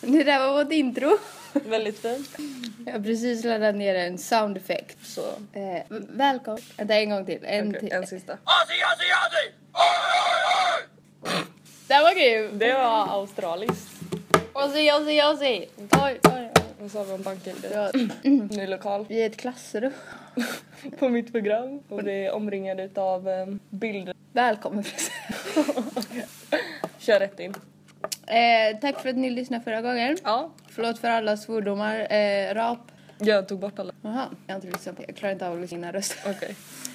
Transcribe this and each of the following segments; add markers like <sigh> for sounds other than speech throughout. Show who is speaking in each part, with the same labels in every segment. Speaker 1: Det där var vårt intro.
Speaker 2: Väldigt fint.
Speaker 1: Jag har precis laddat ner en sound effect.
Speaker 2: Så.
Speaker 1: Eh, v- välkommen. Vänta, en gång till. En
Speaker 2: Okej,
Speaker 1: till.
Speaker 2: en sista.
Speaker 1: Den var grym!
Speaker 2: Det var australiskt.
Speaker 1: Ozzy, Ozzy, Ozzy! Oj, oj, oj.
Speaker 2: Vad sa vi om bank-id?
Speaker 1: Ja.
Speaker 2: Ny lokal
Speaker 1: Vi är ett klassrum.
Speaker 2: på mitt program. Och det är omringad utav eh, bilder.
Speaker 1: Välkommen. <laughs>
Speaker 2: Kör rätt in.
Speaker 1: eh, tack för att ni lyssnade förra gången.
Speaker 2: Ja.
Speaker 1: Förlåt för alla svordomar. Eh, rap.
Speaker 2: Jag tog bort alla.
Speaker 1: Jaha, jag har inte lyssnat på Jag klarar inte av att lyssna innan rösten.
Speaker 2: Okej.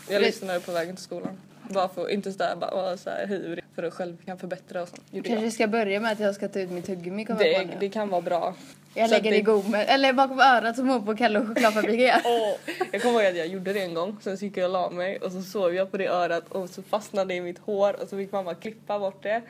Speaker 2: Jag
Speaker 1: Det-
Speaker 2: lyssnade på vägen till skolan. Bara för inte sådär bara vara såhär hur för att själv kan förbättra och sånt. Gjorde jag.
Speaker 1: Kanske ska börja med att jag ska ta ut mitt tuggummi kommer jag på
Speaker 2: Det,
Speaker 1: nu.
Speaker 2: det kan vara bra.
Speaker 1: jag
Speaker 2: så att
Speaker 1: lägger det i
Speaker 2: det-
Speaker 1: gommen, eller bakom örat som hon på Kalle och chokladfabriken
Speaker 2: <laughs>
Speaker 1: gör.
Speaker 2: Åh, Jag kommer ihåg att jag gjorde det en gång, sen så gick jag och la mig och så sov jag på det örat och så fastnade det i mitt hår och så fick mamma klippa bort det.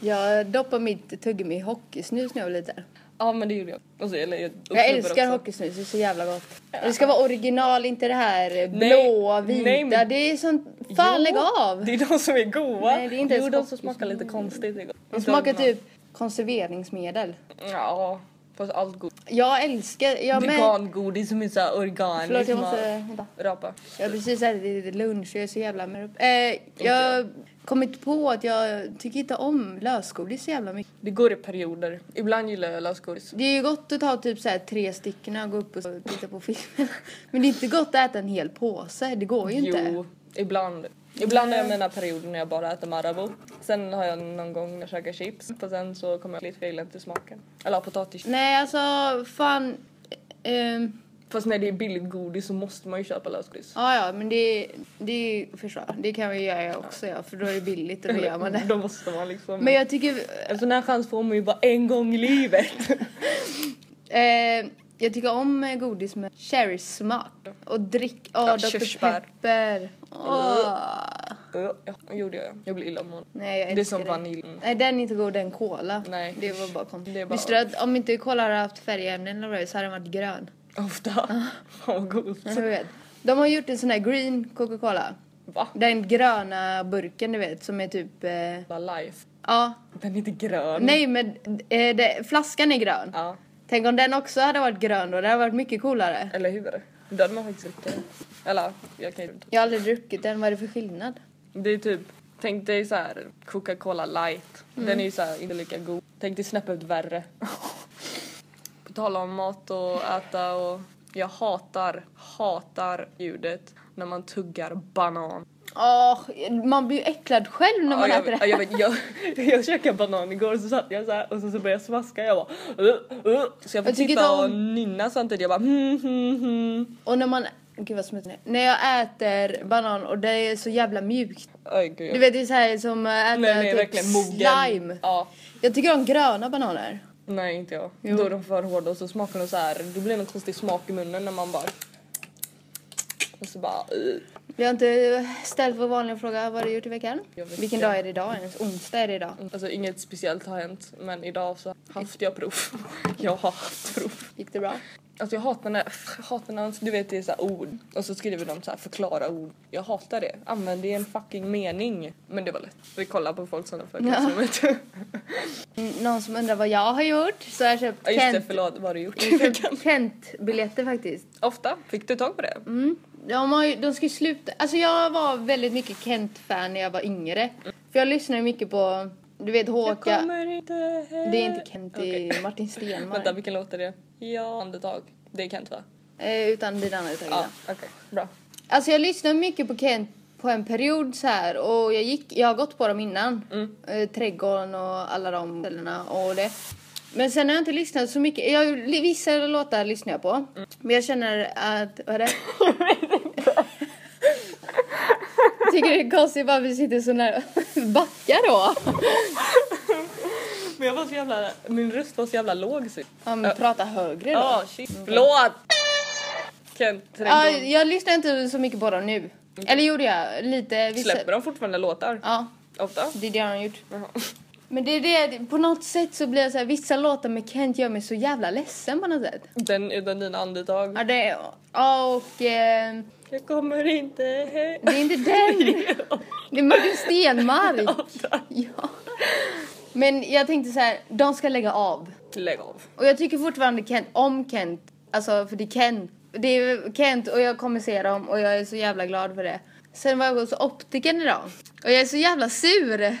Speaker 1: Jag doppade mitt tuggummi i hockeysnus när jag var liten.
Speaker 2: Ja men det gjorde jag. Och så, eller, jag, och
Speaker 1: Jag
Speaker 2: snubbar
Speaker 1: älskar
Speaker 2: också.
Speaker 1: hockeysnus, det är så jävla gott. Och Det ska vara original, inte det här eh,
Speaker 2: Nej,
Speaker 1: blåa, vita.
Speaker 2: nej, men-
Speaker 1: Det är sånt... Fan
Speaker 2: Jo,
Speaker 1: lägg av!
Speaker 2: Det är de som är goa.
Speaker 1: Nej, det är inte
Speaker 2: jo
Speaker 1: ens
Speaker 2: de som
Speaker 1: hockeysnus.
Speaker 2: smakar lite konstigt. är gott.
Speaker 1: De
Speaker 2: Inte
Speaker 1: smakar
Speaker 2: de-
Speaker 1: typ konserveringsmedel.
Speaker 2: Ja fast allt gott.
Speaker 1: Jag älskar... Jag med...
Speaker 2: Vegangodis som är såhär organiskt.
Speaker 1: Förlåt jag
Speaker 2: man
Speaker 1: måste... Vänta.
Speaker 2: Rapa.
Speaker 1: Jag har precis ätit lite lunch jag är så jävla med upp. Eh, jag
Speaker 2: jag.
Speaker 1: kom inte på att jag tycker inte om lösgodis så jävla mycket.
Speaker 2: Det går i perioder. Ibland gillar jag lösgodis.
Speaker 1: Det är ju gott att ta typ så här tre stycken och gå upp och titta på filmen. <laughs> Men det är inte gott att äta en hel påse, det går ju inte.
Speaker 2: Jo, ibland. Ibland har jag mina perioder när jag bara äter Marabou. Sen har jag någon gång när jag käkar chips. Och sen så kommer jag lite för jag gillar inte smaken. Eller potatis.
Speaker 1: Nej alltså fan. ehm,
Speaker 2: Fast när det är billigt godis så måste man ju köpa lösgodis.
Speaker 1: Ja, ja, men det, det förstår jag. Det kan vi göra också, ja, för då är det billigt och då gör man det.
Speaker 2: Då måste man liksom.
Speaker 1: Men jag tycker,
Speaker 2: En sån här chans får man ju bara en gång i livet.
Speaker 1: eh, jag tycker om eh, godis med cherrysmak och drick, åh,
Speaker 2: Ja,
Speaker 1: Dr.
Speaker 2: körsbär.
Speaker 1: Pepper. Åh.
Speaker 2: Ja, gjorde jag. Jag blir illamående.
Speaker 1: Nej, jag
Speaker 2: Det är
Speaker 1: älskar
Speaker 2: som vanilj. Mm.
Speaker 1: Nej, den är inte god, den cola.
Speaker 2: Nej.
Speaker 1: Det var bara konstigt.
Speaker 2: Det är bara-
Speaker 1: Visste du att om inte cola hade haft färgämnen eller vad det är, så hade den varit grön?
Speaker 2: <laughs> Ofta. Fan vad gott.
Speaker 1: Jag vet. De har gjort en sån här green Coca-Cola.
Speaker 2: Va?
Speaker 1: Den gröna burken du vet som är typ... Eh,
Speaker 2: Bara life.
Speaker 1: ja.
Speaker 2: Den är inte grön.
Speaker 1: Nej men eh, det, flaskan är grön.
Speaker 2: Ja,
Speaker 1: Tänk om den också hade varit grön då, det hade varit mycket coolare.
Speaker 2: eller hur? Då hade man faktiskt druckit den. Eller jag kan ju inte.
Speaker 1: Jag har aldrig druckit den, vad är det för skillnad?
Speaker 2: Det är typ, tänk dig så här Coca-Cola light. Den är ju så här inte lika god. Tänk dig snäppet <laughs> värre. På tal om mat och äta och jag hatar, hatar ljudet när man tuggar banan.
Speaker 1: Åh, man blir ju äcklad själv när man
Speaker 2: Ja, jag,
Speaker 1: äter det.
Speaker 2: ja, jag, vet, jag, jag <laughs> käkade banan igår och så satt jag så här och så, så började jag smaska. Jag bara, uh, uh. Så
Speaker 1: Jag
Speaker 2: jag
Speaker 1: tycker
Speaker 2: fick sitta
Speaker 1: inte
Speaker 2: och
Speaker 1: om-
Speaker 2: nynna samtidigt. Jag bara hmm, hmm, hmm.
Speaker 1: Och när man... Gud vad smutsigt det är. När jag äter banan och det är så jävla mjukt.
Speaker 2: Oj, gud, jag-
Speaker 1: Du vet det är så här som äh, äta
Speaker 2: Nej, nej,
Speaker 1: typ
Speaker 2: verkligen mogen.
Speaker 1: slime.
Speaker 2: Ja.
Speaker 1: Jag tycker om gröna bananer.
Speaker 2: Nej, inte jag.
Speaker 1: Jo.
Speaker 2: Då är de för hårda och så smakar de så här. Det blir en konstig smak i munnen när man bara... Och så bara... uh. "Ugh."
Speaker 1: Vi har inte ställt vår vanliga fråga vad har du gjort i veckan.
Speaker 2: Jag vet
Speaker 1: Vilken
Speaker 2: inte.
Speaker 1: dag är det idag ens? Onsdag är det idag.
Speaker 2: Alltså inget speciellt har hänt men idag så haft jag prov. <laughs> Jag har haft prov.
Speaker 1: Gick det bra?
Speaker 2: Alltså jag hatar när, <laughs> jag hatar när du vet det är så här ord och så skriver de så här förklara ord. Jag hatar det. Använd det i en fucking mening. Men det var lätt. Vi kollar på folk som har föreläsningar. Ja.
Speaker 1: Mm, Någon som undrar vad jag har gjort så har jag köpt
Speaker 2: <laughs> ja just det,
Speaker 1: Kent. Mm.
Speaker 2: förlåt. Vad har du gjort?
Speaker 1: jag har köpt <laughs> Kent-biljetter faktiskt.
Speaker 2: <laughs> Ofta? Fick du tag på det?
Speaker 1: Mm. De, har ju, de ska ju sluta. Alltså jag var väldigt mycket Kent-fan när jag var yngre. För jag lyssnade mycket på, du vet
Speaker 2: Jag
Speaker 1: Håka.
Speaker 2: kommer inte hem.
Speaker 1: Det är inte Kent, det är
Speaker 2: Okej.
Speaker 1: Martin Stenmarck.
Speaker 2: Vänta, vilken låt är det? Ja, andetag. Det kan inte va?
Speaker 1: Eh, utan dina andra
Speaker 2: Ja, okej. Bra.
Speaker 1: Alltså jag lyssnade mycket på Kent på en period så här och jag gick, jag har gått på dem innan.
Speaker 2: Mm.
Speaker 1: Eh, trädgården och alla de ställena och det. Men sen har jag inte lyssnat så mycket. Jag, vissa låtar lyssnar jag på.
Speaker 2: Mm.
Speaker 1: Men jag känner att, vad är
Speaker 2: <laughs>
Speaker 1: det? Tycker det är konstigt bara vi sitter så nära. <laughs> Backa då!
Speaker 2: Men jag var så jävla... Min röst var så jävla låg så.
Speaker 1: Ja men prata högre då. Mm. Ah,
Speaker 2: Ja, shit. Förlåt! Kent,
Speaker 1: Ja,
Speaker 2: trädgård.
Speaker 1: jag lyssnar inte så mycket på dem nu. Eller gjorde jag lite. Vissa...
Speaker 2: Släpper de fortfarande låtar?
Speaker 1: Ja,
Speaker 2: Ofta?
Speaker 1: det är det jag har gjort.
Speaker 2: Jaha.
Speaker 1: Men det är det, det- på något sätt så blir jag så här, vissa låtar med Kent gör mig så jävla ledsen på något sätt.
Speaker 2: Den utan dina andetag.
Speaker 1: Ja, det är, ja och eh,
Speaker 2: Jag kommer inte hem.
Speaker 1: det är inte den. Det är Martin Stenmarck.
Speaker 2: Ofta.
Speaker 1: Ja. Men jag tänkte så här, de ska lägga av.
Speaker 2: <laughs> Lägg av.
Speaker 1: Och jag tycker fortfarande Kent, om Kent, alltså för det är Kent. Det är Kent och jag kommer se dem och jag är så jävla glad för det. Sen var jag hos optiken idag och jag är så jävla sur.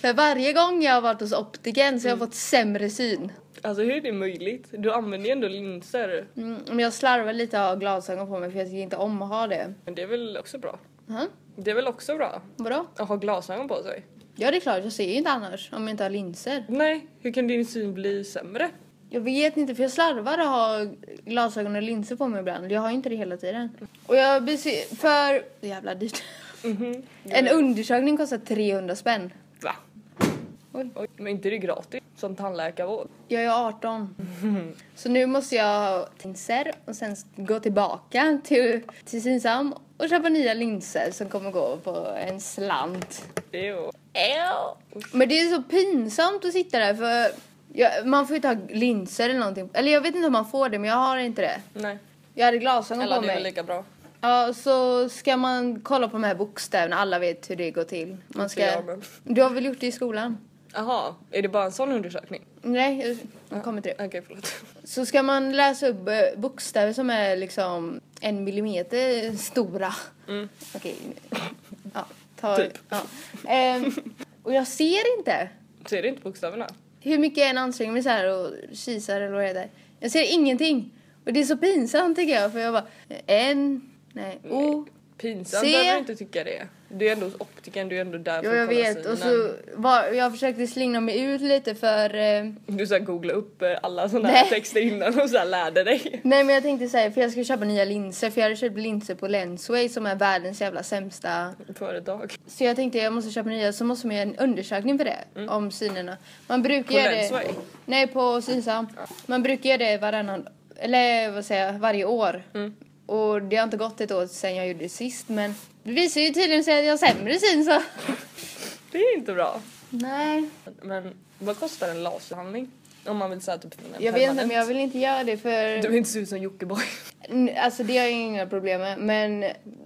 Speaker 1: För varje gång jag har varit hos optiken så har jag fått sämre syn.
Speaker 2: Alltså hur är det möjligt? Du använder ju ändå linser.
Speaker 1: Mm, men jag slarvar lite av glasögon på mig för jag tycker inte om att ha det.
Speaker 2: Men det är väl också bra?
Speaker 1: Huh?
Speaker 2: Det är väl också bra?
Speaker 1: Vadå?
Speaker 2: Att ha glasögon på sig?
Speaker 1: Ja det är klart, jag ser ju inte annars om jag inte har linser.
Speaker 2: Nej, hur kan din syn bli sämre?
Speaker 1: Jag vet inte för jag slarvar att ha glasögon och linser på mig ibland. Jag har ju inte det hela tiden. Och jag blir så- för... Så jävla dyrt.
Speaker 2: Mhm.
Speaker 1: En undersökning kostar 300 spänn.
Speaker 2: Va?
Speaker 1: Oj.
Speaker 2: Oj, men inte det är gratis som tandläkarvård?
Speaker 1: Jag är 18. Så nu måste jag ha linser och sen gå tillbaka till, till Synsam och köpa nya linser som kommer gå på en slant.
Speaker 2: Det är ju...
Speaker 1: Men det är så pinsamt att sitta där för jag, man får ju inte ha linser eller någonting. Eller jag vet inte om man får det men jag har inte det.
Speaker 2: Nej.
Speaker 1: Jag hade glasögon
Speaker 2: Eller
Speaker 1: på
Speaker 2: det är väl
Speaker 1: mig.
Speaker 2: lika bra.
Speaker 1: Ja, så ska man kolla på de här bokstäverna. Alla vet hur det går till. Man ska...
Speaker 2: jag, men-
Speaker 1: Du har väl gjort det i skolan?
Speaker 2: Jaha, är det bara en sån undersökning?
Speaker 1: Nej, jag- jag kommer till det.
Speaker 2: Okej, förlåt.
Speaker 1: Så ska man läsa upp eh, bokstäver som är liksom en millimeter stora.
Speaker 2: Mm.
Speaker 1: Okej. Ja, ta...
Speaker 2: Typ.
Speaker 1: Ja. Ehm, och jag ser inte.
Speaker 2: Ser du inte bokstäverna?
Speaker 1: Hur mycket jag än anstränger mig så här och kisar eller vad det heter. Jag ser ingenting. Och det är så pinsamt tycker jag för jag bara... En... Nej. O.
Speaker 2: Pinsamt
Speaker 1: Oh, Se.
Speaker 2: behöver du inte tycka det. Du är ändå hos optiken, du är ändå där
Speaker 1: Jo,
Speaker 2: för
Speaker 1: jag
Speaker 2: att kolla
Speaker 1: vet. Och
Speaker 2: synen.
Speaker 1: så var, jag försökte slingra mig ut lite för... Eh,
Speaker 2: Du så här googlade upp eh, alla såna här
Speaker 1: Nej.
Speaker 2: texter innan och så här lärde dig.
Speaker 1: nej, men jag tänkte säga för jag ska köpa nya linser. För jag hade köpt linser på Lensway som är världens jävla sämsta.
Speaker 2: Företag.
Speaker 1: Så jag tänkte jag måste köpa nya. Så måste man göra en undersökning för det. Om synerna. Man brukar
Speaker 2: Mm. På
Speaker 1: göra
Speaker 2: Lensway?
Speaker 1: det... Nej, på Synsam. Man brukar göra det varannan... Eller vad säger jag? Varje år.
Speaker 2: Mm.
Speaker 1: Och det har inte gått ett år sedan jag gjorde det sist. Men det visar ju tydligen sig att jag har sämre syn så...
Speaker 2: Det är inte bra.
Speaker 1: <laughs> Nej.
Speaker 2: Men vad kostar en laserbehandling? Om man vill säga typ en
Speaker 1: Jag vet inte men jag vill inte göra det för...
Speaker 2: Du vill inte se ut som Jockiboi. <laughs>
Speaker 1: N- Alltså det har jag inga problem med. Men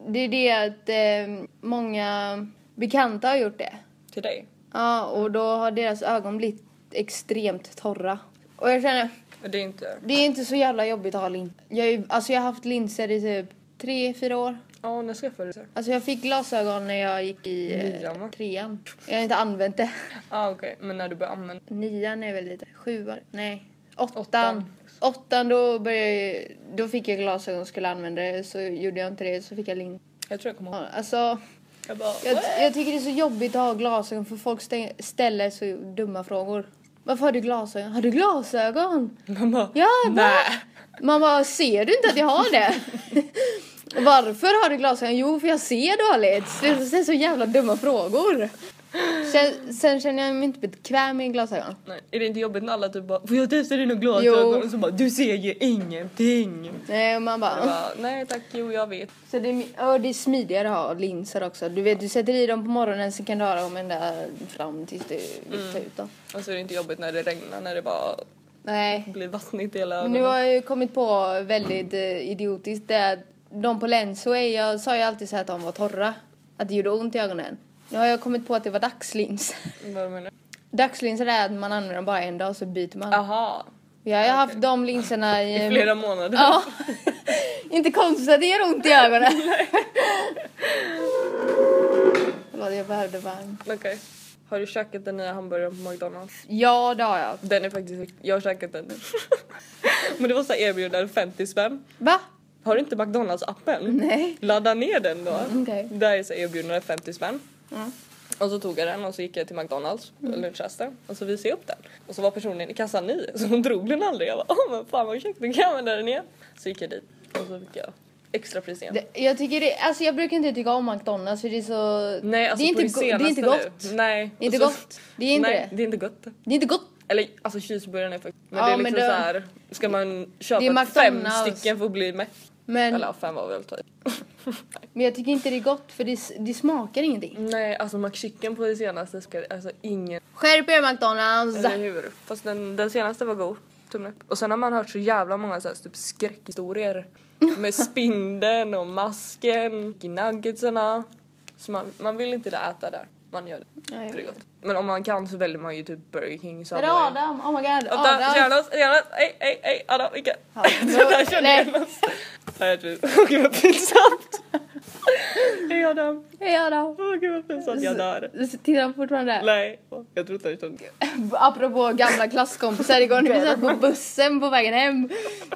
Speaker 1: det är det att eh, många bekanta har gjort det.
Speaker 2: Till dig.
Speaker 1: Ja, och då har deras ögon blivit extremt torra. Och jag känner,
Speaker 2: Men Det är inte...
Speaker 1: det är inte så jävla jobbigt att ha linser. Jag, är ju- alltså jag har haft linser i typ tre, fyra år.
Speaker 2: Ja, när skaffade du det?
Speaker 1: Alltså jag fick glasögon när jag gick i
Speaker 2: Nian, va?
Speaker 1: eh, trean. Jag har inte använt det.
Speaker 2: ah, okej. Men när du började använda...
Speaker 1: Nian är väl lite, sjuan, nej.
Speaker 2: Åttan.
Speaker 1: Åttan. Åttan då började jag, då fick jag glasögon och skulle använda det så gjorde jag inte det så fick jag linser.
Speaker 2: Jag tror jag kommer ihåg.
Speaker 1: Ja, Alltså,
Speaker 2: Jag bara...
Speaker 1: jag, jag tycker det är så jobbigt att ha glasögon för folk stäng, ställer så dumma frågor. Varför har du glasögon? Har du glasögon?
Speaker 2: Man bara...
Speaker 1: Ja, va?
Speaker 2: Nej.
Speaker 1: Man bara, ser du inte att jag har det? <laughs> Varför har du glasögon? Jo, för jag ser dåligt. Sluta ställa så jävla dumma frågor. Sen, sen känner jag mig inte bekväm i glasögon.
Speaker 2: Nej. Är det inte jobbigt när alla typ bara Får jag testa dina glasögon?
Speaker 1: Jo.
Speaker 2: Och så bara du ser ju ingenting.
Speaker 1: Nej, och man
Speaker 2: Jag
Speaker 1: bara...
Speaker 2: bara, Nej tack, jo jag vet.
Speaker 1: Så det är, ja, det är smidigare att ha linser också. Du vet, du sätter i dem på morgonen, sen kan du ha dem ända fram tills du vill ta ut dem.
Speaker 2: Och så är det inte jobbigt när det regnar när det bara
Speaker 1: Nej,
Speaker 2: blir vattnigt i hela
Speaker 1: Men
Speaker 2: ögonen.
Speaker 1: Nu har jag ju kommit på väldigt eh, idiotiskt det att de på Lensway, jag sa ju alltid så här att de var torra. Att det gjorde ont i ögonen. Nu har jag kommit på att det var dagslinser. <laughs>
Speaker 2: Vad menar du?
Speaker 1: Dagslinser är att man använder dem bara en dag så byter man.
Speaker 2: Aha.
Speaker 1: Jag har ju haft de linserna i...
Speaker 2: I flera månader.
Speaker 1: Ehm, Ja. <laughs> Inte konstigt att det gör ont i ögonen.
Speaker 2: <laughs>
Speaker 1: Förlåt, jag behövde bara...
Speaker 2: Okej. Har du käkat den nya hamburgaren på McDonalds?
Speaker 1: Ja, det har jag.
Speaker 2: Den är faktiskt... Jag har käkat den. <laughs> Men det var så här erbjudande 50 spänn.
Speaker 1: Va?
Speaker 2: Har du inte McDonalds-appen?
Speaker 1: Nej.
Speaker 2: Ladda ner den då.
Speaker 1: okej.
Speaker 2: Där är så här erbjudandet 50 spänn.
Speaker 1: Mm.
Speaker 2: Och så tog jag den och så gick jag till McDonalds, lunchrasten, och så visade jag upp den. Och så var personen i kassan ny så hon drog den aldrig. Jag bara åh men fan vad ursäkta, kan jag använda den igen? Så gick jag dit och så fick jag extra pris igen.
Speaker 1: Det, jag, tycker det, alltså jag brukar inte tycka om McDonalds för det är så...
Speaker 2: Nej alltså
Speaker 1: det, är inte go-
Speaker 2: på
Speaker 1: det är inte
Speaker 2: senaste
Speaker 1: gott.
Speaker 2: Nu. Nej.
Speaker 1: Det är inte
Speaker 2: Och så-
Speaker 1: gott. Det är inte
Speaker 2: Nej,
Speaker 1: det.
Speaker 2: det är inte gott.
Speaker 1: Det är inte gott.
Speaker 2: Eller alltså cheeseburgaren är faktiskt... Men
Speaker 1: Ja,
Speaker 2: det är
Speaker 1: men
Speaker 2: liksom
Speaker 1: det-
Speaker 2: så här. ska man köpa
Speaker 1: Det är
Speaker 2: fem
Speaker 1: McDonald's.
Speaker 2: stycken för att bli mätt?
Speaker 1: Men,
Speaker 2: Eller ja, fem var väl typ. att ta i.
Speaker 1: men jag tycker inte det är gott för det, s- det smakar ingenting.
Speaker 2: Nej alltså McChicken på det senaste ska alltså ingen
Speaker 1: Skärp er McDonalds!
Speaker 2: Eller hur? Fast den, den senaste var god. Tummen upp. Och sen har man hört så jävla många så här,
Speaker 1: <laughs>
Speaker 2: typ skräckhistorier. Med spindeln och masken, nuggetsarna. Så man, man vill inte där äta där. man gör det.
Speaker 1: Ja, jag
Speaker 2: Det är
Speaker 1: vet.
Speaker 2: gott. Men om man kan så väljer man ju typ Burger King,
Speaker 1: Är det Adam? Oh my god.
Speaker 2: Vänta,
Speaker 1: Adam.
Speaker 2: tjena oss, tjena oss, ej, ej, ej, Adam, <laughs> Micke.
Speaker 1: Ja,
Speaker 2: Där kände jag
Speaker 1: nej.
Speaker 2: igen oss. Nej, jag tror- <laughs> Åh gud vad pinsamt. Hej Adam,
Speaker 1: Hej Adam.
Speaker 2: åh gud vad pinsamt, jag dör.
Speaker 1: Tittar han fortfarande?
Speaker 2: Nej, jag tror inte han kände.
Speaker 1: Apropå gamla klasskompisar igår när vi satt på bussen på vägen hem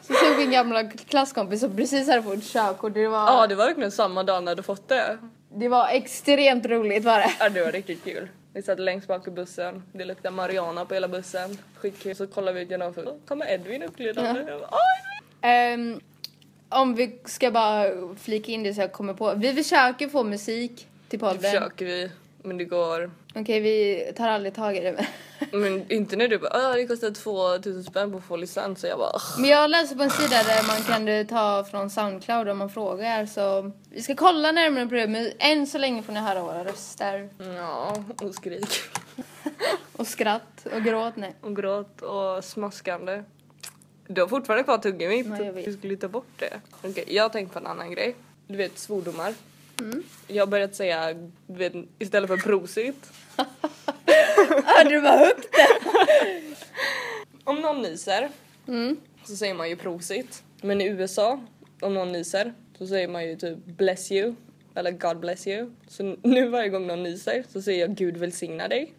Speaker 1: så såg vi en gamla klasskompis som precis hade fått körkort. Det var,
Speaker 2: Ja, det var verkligen samma dag när du fått det.
Speaker 1: det var extremt roligt var det.
Speaker 2: Ja, det var riktigt kul. Vi satt längst bak i bussen, det luktade marijuana på hela bussen. Skitkul. Så kollade vi ut genom fönstret, Då kommer Edvin uppglidande. Jag bara, "Åh, Edvin!"
Speaker 1: Ehm, om vi ska bara flika in det så jag kommer på. Vi försöker få musik till
Speaker 2: Det
Speaker 1: podden.
Speaker 2: Typ försöker vi, men det går.
Speaker 1: Okej vi tar aldrig tag i det.
Speaker 2: Men inte när du bara "Ah, det kostar 2000 spänn på att få licens. Så jag bara "Ah."
Speaker 1: Men jag läser på en sida där man kan eh, ta från Soundcloud om man frågar så vi ska kolla närmare på det men än så länge får ni höra våra röster
Speaker 2: ja, och skrik
Speaker 1: och skratt och gråt. Nej.
Speaker 2: och gråt och smaskande. Du har fortfarande kvar tuggummit.
Speaker 1: Nej, jag vet.
Speaker 2: Du skulle ta bort det. Okej, jag har tänkt på en annan grej. Du vet svordomar.
Speaker 1: Mm.
Speaker 2: Jag har börjat säga du vet, istället för prosit.
Speaker 1: Hörde du bara upp
Speaker 2: Om någon nyser
Speaker 1: Mm.
Speaker 2: så säger man ju prosit. Men i USA, om någon nyser, så säger man ju typ bless you eller God bless you. Så nu varje gång någon nyser så säger jag Gud välsigna dig.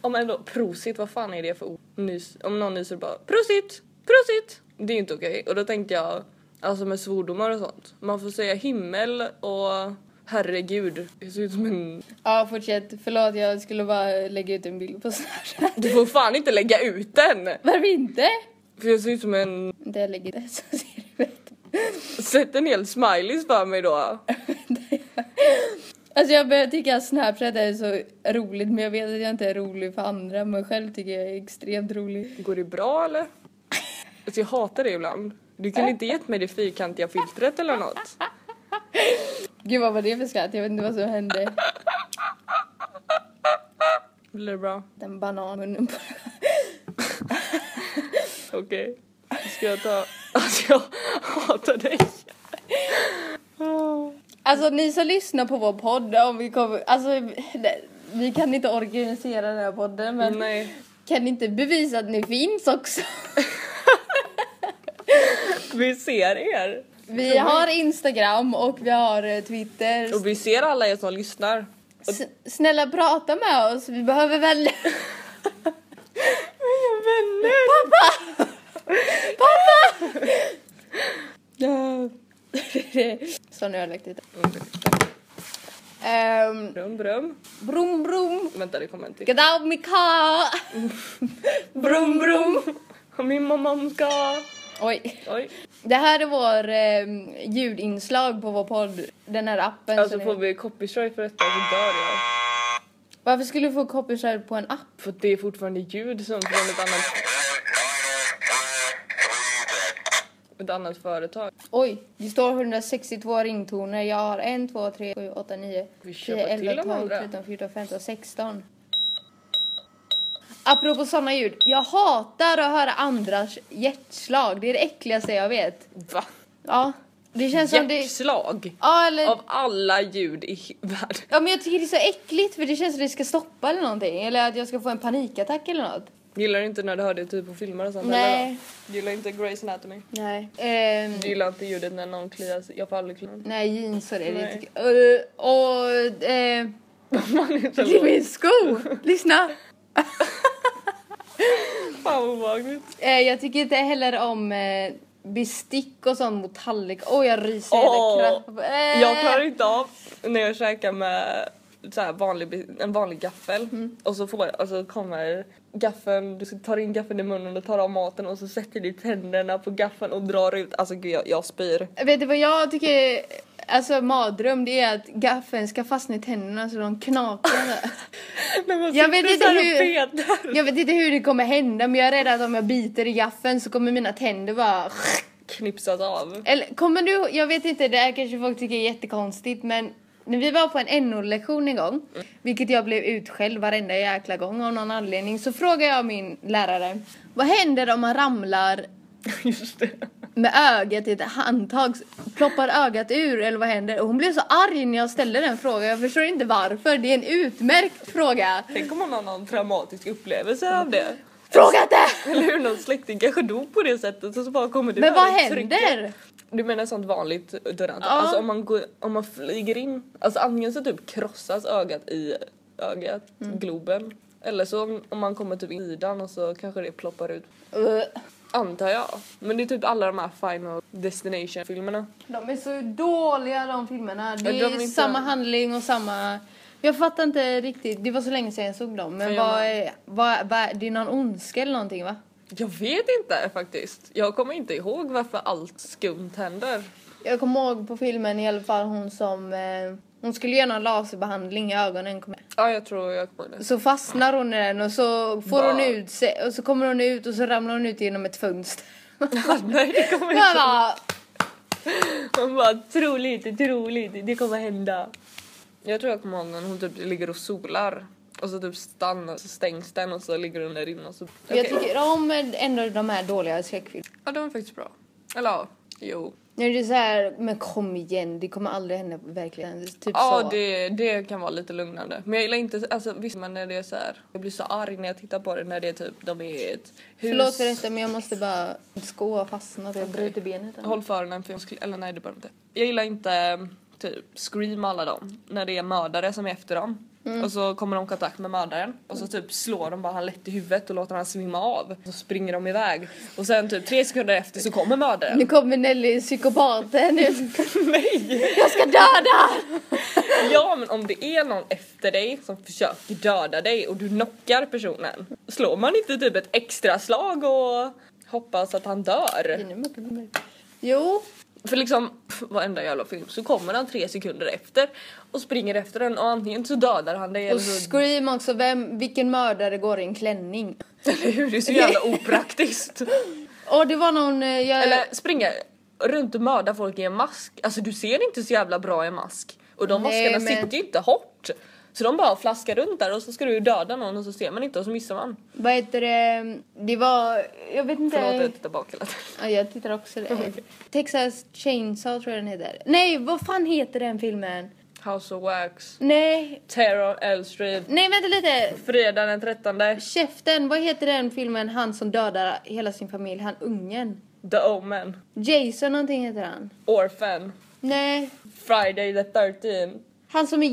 Speaker 2: om ändå prosit, vad fan är det för ord? Nys, om någon nyser bara prosit, prosit. Det är ju inte okej. Och då tänkte jag, alltså med svordomar och sånt. Man får säga himmel och herregud. Det ser ut som en...
Speaker 1: Ja, fortsätt. Förlåt, jag skulle bara lägga ut en bild på Snapchat. <laughs>
Speaker 2: Du får fan inte lägga ut den!
Speaker 1: Varför inte?
Speaker 2: För jag ser ut som en
Speaker 1: Inte jag lägger det så ser det bättre
Speaker 2: Sätt en hel smileys för mig då.
Speaker 1: Alltså jag börjar tycka att Snapchat är så roligt men jag vet att jag inte är rolig för andra men själv tycker jag är extremt rolig.
Speaker 2: Går det bra eller? Alltså jag hatar det ibland. Du kunde inte gett mig det fyrkantiga filtret eller något.
Speaker 1: Gud vad var det för skratt? Jag vet inte vad som hände.
Speaker 2: Blir det bra?
Speaker 1: Den bananmunnen på
Speaker 2: Okej. Ska jag ta... Alltså jag hatar dig. Åh.
Speaker 1: Alltså ni som lyssnar på vår podd om vi kommer, alltså nej, vi kan inte organisera den här podden men
Speaker 2: Nej.
Speaker 1: kan ni inte bevisa att ni finns också?
Speaker 2: Vi ser er.
Speaker 1: Vi har Instagram och vi har eh, Twitter.
Speaker 2: Och vi ser alla er som lyssnar.
Speaker 1: S- snälla prata med oss, vi behöver välja.
Speaker 2: Mina vänner!
Speaker 1: Så nu har jag lagt ut um,
Speaker 2: Brum brum.
Speaker 1: Brum brum,
Speaker 2: Vänta det kommer en till.
Speaker 1: gadab mika. Brum brum.
Speaker 2: Min mamma ska...
Speaker 1: Oj.
Speaker 2: Oj.
Speaker 1: Det här är vår ehm, ljudinslag på vår podd. Den här appen.
Speaker 2: Alltså
Speaker 1: som
Speaker 2: får
Speaker 1: är-
Speaker 2: vi copyright för detta så dör jag.
Speaker 1: Varför skulle vi få copyright på en app?
Speaker 2: För att det är fortfarande ljud som från ett annat, ett annat företag.
Speaker 1: Oj, det står 162 ringtoner. Jag har 1, 2, 3, 7, 8, 9,
Speaker 2: Vi
Speaker 1: 10,
Speaker 2: köper till
Speaker 1: 11,
Speaker 2: de
Speaker 1: 12,
Speaker 2: andra.
Speaker 1: 13, 14, 15, 16. Apropå sådana ljud. Jag hatar att höra andras hjärtslag. Det är det äckligaste jag vet.
Speaker 2: Va?
Speaker 1: Ja, det känns som det...
Speaker 2: Hjärtslag?
Speaker 1: Ja, eller...
Speaker 2: Av alla ljud i he- <laughs> världen.
Speaker 1: Ja, men jag tycker det är så äckligt för det känns som det ska stoppa eller någonting. Eller att jag ska få en panikattack eller något.
Speaker 2: Gillar du inte när du hör det typ på filmer och sånt
Speaker 1: Nej.
Speaker 2: eller? Gillar inte Grey's Anatomy?
Speaker 1: Nej. Ehm,
Speaker 2: Du gillar inte ljudet när någon kliar sig? Jag får aldrig klia.
Speaker 1: nej, jeans och det. det
Speaker 2: Nej.
Speaker 1: tycker- Eh, och... eh,
Speaker 2: Man är
Speaker 1: det
Speaker 2: så
Speaker 1: är <laughs>
Speaker 2: låg.
Speaker 1: min sko! Lyssna!
Speaker 2: Fan vad obehagligt.
Speaker 1: Eh, jag tycker inte heller om eh, bestick och sånt mot tallrik. Åh, jag ryser
Speaker 2: Åh,
Speaker 1: hela kroppen. Eh,
Speaker 2: Jag klarar inte av när jag käkar med så här vanlig, bi- en vanlig gaffel
Speaker 1: Mm.
Speaker 2: och så får jag, alltså kommer gaffeln, du tar in gaffeln i munnen och tar av maten och så sätter du tänderna på gaffeln och drar ut. Alltså gud jag, jag spyr.
Speaker 1: Eh, Vet du vad jag tycker är- alltså mardröm? Det är att gaffeln ska fastna i tänderna så de knakar.
Speaker 2: <laughs> När man
Speaker 1: Jag vet
Speaker 2: sitter
Speaker 1: inte
Speaker 2: så här och
Speaker 1: hur-
Speaker 2: petar.
Speaker 1: jag vet inte hur det kommer hända men jag är rädd att om jag biter i gaffeln så kommer mina tänder bara...
Speaker 2: knipsat av. <laughs>
Speaker 1: Eller kommer du... Jag vet inte, det här kanske folk tycker är jättekonstigt men när vi var på en NO-lektion en gång, vilket jag blev utskälld varenda jäkla gång av någon anledning, så frågade jag min lärare Vad händer om man ramlar
Speaker 2: Just det.
Speaker 1: med ögat i ett handtag. Ploppar ögat ur eller vad händer? Och hon blev så arg när jag ställde den frågan. Jag förstår inte varför. Det är en utmärkt fråga.
Speaker 2: Tänk om man har någon traumatisk upplevelse av det.
Speaker 1: Fråga inte!
Speaker 2: Eller hur någon släkting kanske dog på det sättet och så bara kommer du
Speaker 1: Men
Speaker 2: här
Speaker 1: vad
Speaker 2: och trycker.
Speaker 1: händer?
Speaker 2: Du menar sånt vanligt dörrant?
Speaker 1: Ja.
Speaker 2: Alltså om man, går, om man flyger in, alltså antingen så typ krossas ögat i ögat, globen. Eller så om, om man kommer typ i sidan och så kanske det ploppar ut.
Speaker 1: Ugh.
Speaker 2: Antar jag. Men det är typ alla de här Final Destination filmerna.
Speaker 1: De är så dåliga de filmerna. Det
Speaker 2: Ja, de
Speaker 1: är
Speaker 2: är inte-
Speaker 1: samma handling och samma... Jag fattar inte riktigt. Det var så länge sedan jag såg dem. Men
Speaker 2: Ja, jag
Speaker 1: vad
Speaker 2: med.
Speaker 1: är, vad, vad, det är någon ondska eller någonting va?
Speaker 2: Jag vet inte faktiskt. Jag kommer inte ihåg varför allt skumt händer.
Speaker 1: Jag kommer ihåg på filmen i alla fall hon som... Eh, hon skulle göra någon laserbehandling i ögonen. kommer jag-
Speaker 2: Ja, jag tror jag kommer <laughs> ihåg det.
Speaker 1: Så fastnar hon i den och så får
Speaker 2: Va?
Speaker 1: hon ut sig och så kommer hon ut och så ramlar hon ut genom ett fönster.
Speaker 2: Nej, det kommer <laughs> jag
Speaker 1: Jag
Speaker 2: inte ihåg.
Speaker 1: bara,
Speaker 2: Hon bara troligt, troligt, det kommer hända. Jag tror jag kommer ihåg när hon typ ligger och solar och så typ stannar, så stängs den och så ligger hon där inne och så...
Speaker 1: Jag
Speaker 2: Okej.
Speaker 1: tycker om ändå de här dåliga skräckfilmerna.
Speaker 2: Ja, den var faktiskt bra. Eller ja, jo.
Speaker 1: Nu är det så här, men kom igen, det kommer aldrig hända verkligen. Typ så.
Speaker 2: Ja, det, det kan vara lite lugnande. Men jag gillar inte, alltså visst men när det är så här. Jag blir så arg när jag tittar på det när det är typ, de är i ett hus.
Speaker 1: Förlåt för detta men jag måste bara... Skå har fastnat och jag bryter benet.
Speaker 2: Håll för den för jag skulle, eller nej det behöver inte. Jag gillar inte typ Scream alla dem, när det är mördare som är efter dem. Och så kommer de i kontakt med mördaren och så typ slår de bara han lätt i huvudet och låter han svimma av. Så springer de iväg och sen typ tre sekunder efter så
Speaker 1: Nu <laughs>
Speaker 2: kommer mördaren.
Speaker 1: kommer Nelly psykopaten nu.
Speaker 2: <laughs> Nej!
Speaker 1: Jag ska döda!
Speaker 2: Ja men om det är någon efter dig som försöker döda dig och du knockar personen. Slår man inte typ ett extra slag och hoppas att han dör?
Speaker 1: Jo,
Speaker 2: För liksom pff, varenda jävla film så kommer han tre sekunder efter och springer efter den och antingen så dödar han dig eller
Speaker 1: och
Speaker 2: så...
Speaker 1: Scream också. Vem, vilken mördare går i en klänning?
Speaker 2: <laughs> Eller hur? Det är
Speaker 1: <laughs>
Speaker 2: så jävla opraktiskt.
Speaker 1: Åh det var någon... eh, Jag,
Speaker 2: Eller springa runt och mörda folk i en mask. Alltså du ser inte så jävla bra i mask. Och de
Speaker 1: Nej,
Speaker 2: maskarna
Speaker 1: men-
Speaker 2: sitter ju inte hårt. Så de bara flaskar runt där och så ska du döda någon och så ser man inte och så missar man.
Speaker 1: Vad heter det? Det var... Jag vet inte...
Speaker 2: Förlåt att jag tittar bak hela tiden.
Speaker 1: Ja, jag tittar också. eh, Texas Chainsaw tror jag den heter. Nej, vad fan heter den filmen?
Speaker 2: House of Wax.
Speaker 1: Nej,
Speaker 2: Terror L Street.
Speaker 1: nej vänta lite.
Speaker 2: Fredag den 13.
Speaker 1: Käften, vad heter den filmen han som dödar hela sin familj, han ungen?
Speaker 2: The Omen.
Speaker 1: Jason någonting heter han.
Speaker 2: Orphan.
Speaker 1: Nej,
Speaker 2: Friday the 13.
Speaker 1: han som är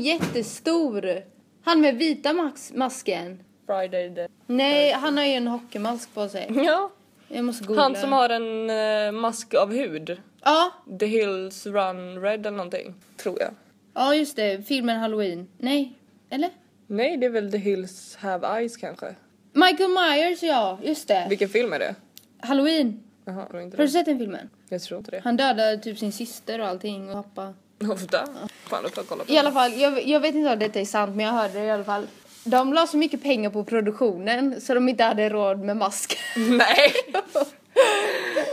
Speaker 1: jättestor. Han med vita max- masken.
Speaker 2: Friday the
Speaker 1: Nej, han har ju en hockeymask på sig.
Speaker 2: Ja,
Speaker 1: Jag måste googla.
Speaker 2: han som har en eh, mask av hud.
Speaker 1: Ja,
Speaker 2: The Hills Run Red eller någonting, tror jag.
Speaker 1: ja just det, filmen Halloween. Nej, eller?
Speaker 2: Nej, det är väl The Hills Have Eyes kanske.
Speaker 1: Michael Myers ja, just det.
Speaker 2: Vilken film är det?
Speaker 1: Halloween.
Speaker 2: Jaha, jag tror inte
Speaker 1: Har du
Speaker 2: det.
Speaker 1: sett den filmen?
Speaker 2: Jag tror inte det.
Speaker 1: Han dödade typ sin syster och allting och pappa.
Speaker 2: Ofta. Fan, då får jag kolla på
Speaker 1: I
Speaker 2: det.
Speaker 1: alla fall, jag, jag vet inte om detta är sant men jag hörde det i alla fall. De la så mycket pengar på produktionen så de inte hade råd med mask.
Speaker 2: <laughs> Nej!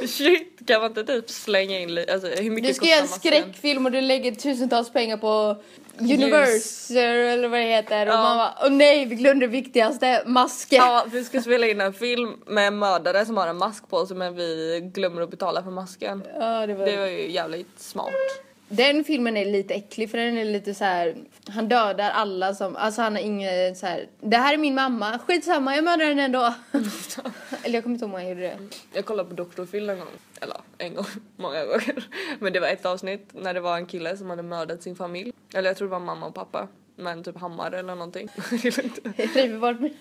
Speaker 2: Shit, kan man inte typ slänga in lite, alltså hur mycket
Speaker 1: Du ska göra en
Speaker 2: kostar masken?
Speaker 1: skräckfilm och du lägger tusentals pengar på Universal eller vad det heter och
Speaker 2: Ja.
Speaker 1: man bara åh nej vi glömde det viktigaste, masken.
Speaker 2: Ja, vi ska spela in en film med en mördare som har en mask på sig men vi glömmer att betala för masken.
Speaker 1: Ja, det var...
Speaker 2: Det var ju jävligt smart.
Speaker 1: Den filmen är lite äcklig för den är lite så här. han dödar alla som, alltså han har ingen så här. det här är min mamma, skitsamma jag mördar henne ändå.
Speaker 2: Mm.
Speaker 1: <laughs> eller jag kommer inte ihåg om han gjorde det.
Speaker 2: Jag kollade på Dr. Phil en gång, eller en gång, <laughs> många gånger. Men det var ett avsnitt när det var en kille som hade mördat sin familj. Eller jag tror det var mamma och pappa. Men typ hammare eller någonting. <laughs> Det är lugnt.
Speaker 1: Jag river bort mig.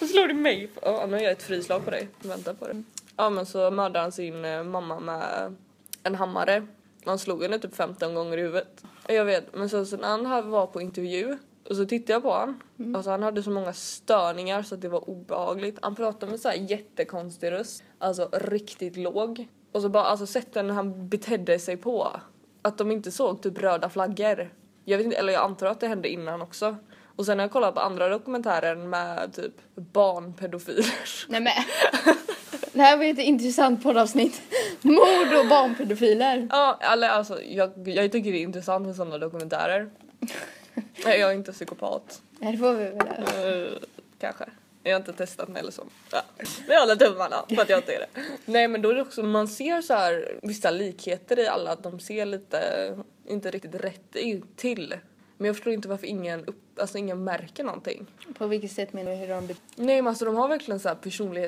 Speaker 2: Och slår du mig? Ja, nu gör jag ett frislag på dig. Vänta på det. Ja men så mördade han sin eh, mamma med en hammare. Han slog henne typ 15 gånger i huvudet. Jag vet, men så, så när han här var på intervju och så tittade jag på han. Alltså han hade så många störningar så att det var obehagligt. Han pratade med så här jättekonstig röst. Alltså riktigt låg. Och så bara alltså sätten han betedde sig på. Att de inte såg typ röda flaggor. Jag vet inte, eller jag antar att det hände innan också. Och sen har jag kollat på andra dokumentärer med typ barnpedofiler. <laughs>
Speaker 1: Nej men. <laughs> Det här var ju ett intressant poddavsnitt. Mord och barnpedofiler.
Speaker 2: Ja, eller alltså jag, jag tycker det är intressant med sådana <laughs> dokumentärer. Nej, Jag är inte psykopat.
Speaker 1: Nej, det får vi väl.
Speaker 2: Eh, kanske. Jag har inte testat mig eller så. Ja. Vi håller tummarna för att jag inte är det. <laughs> Nej men då är det också, man ser så här vissa likheter i alla, att de ser lite, inte riktigt rätt ut till. Men jag förstår inte varför ingen, upp, alltså ingen märker någonting.
Speaker 1: På vilket sätt menar du hur de... bet-
Speaker 2: Nej men alltså de har verkligen så här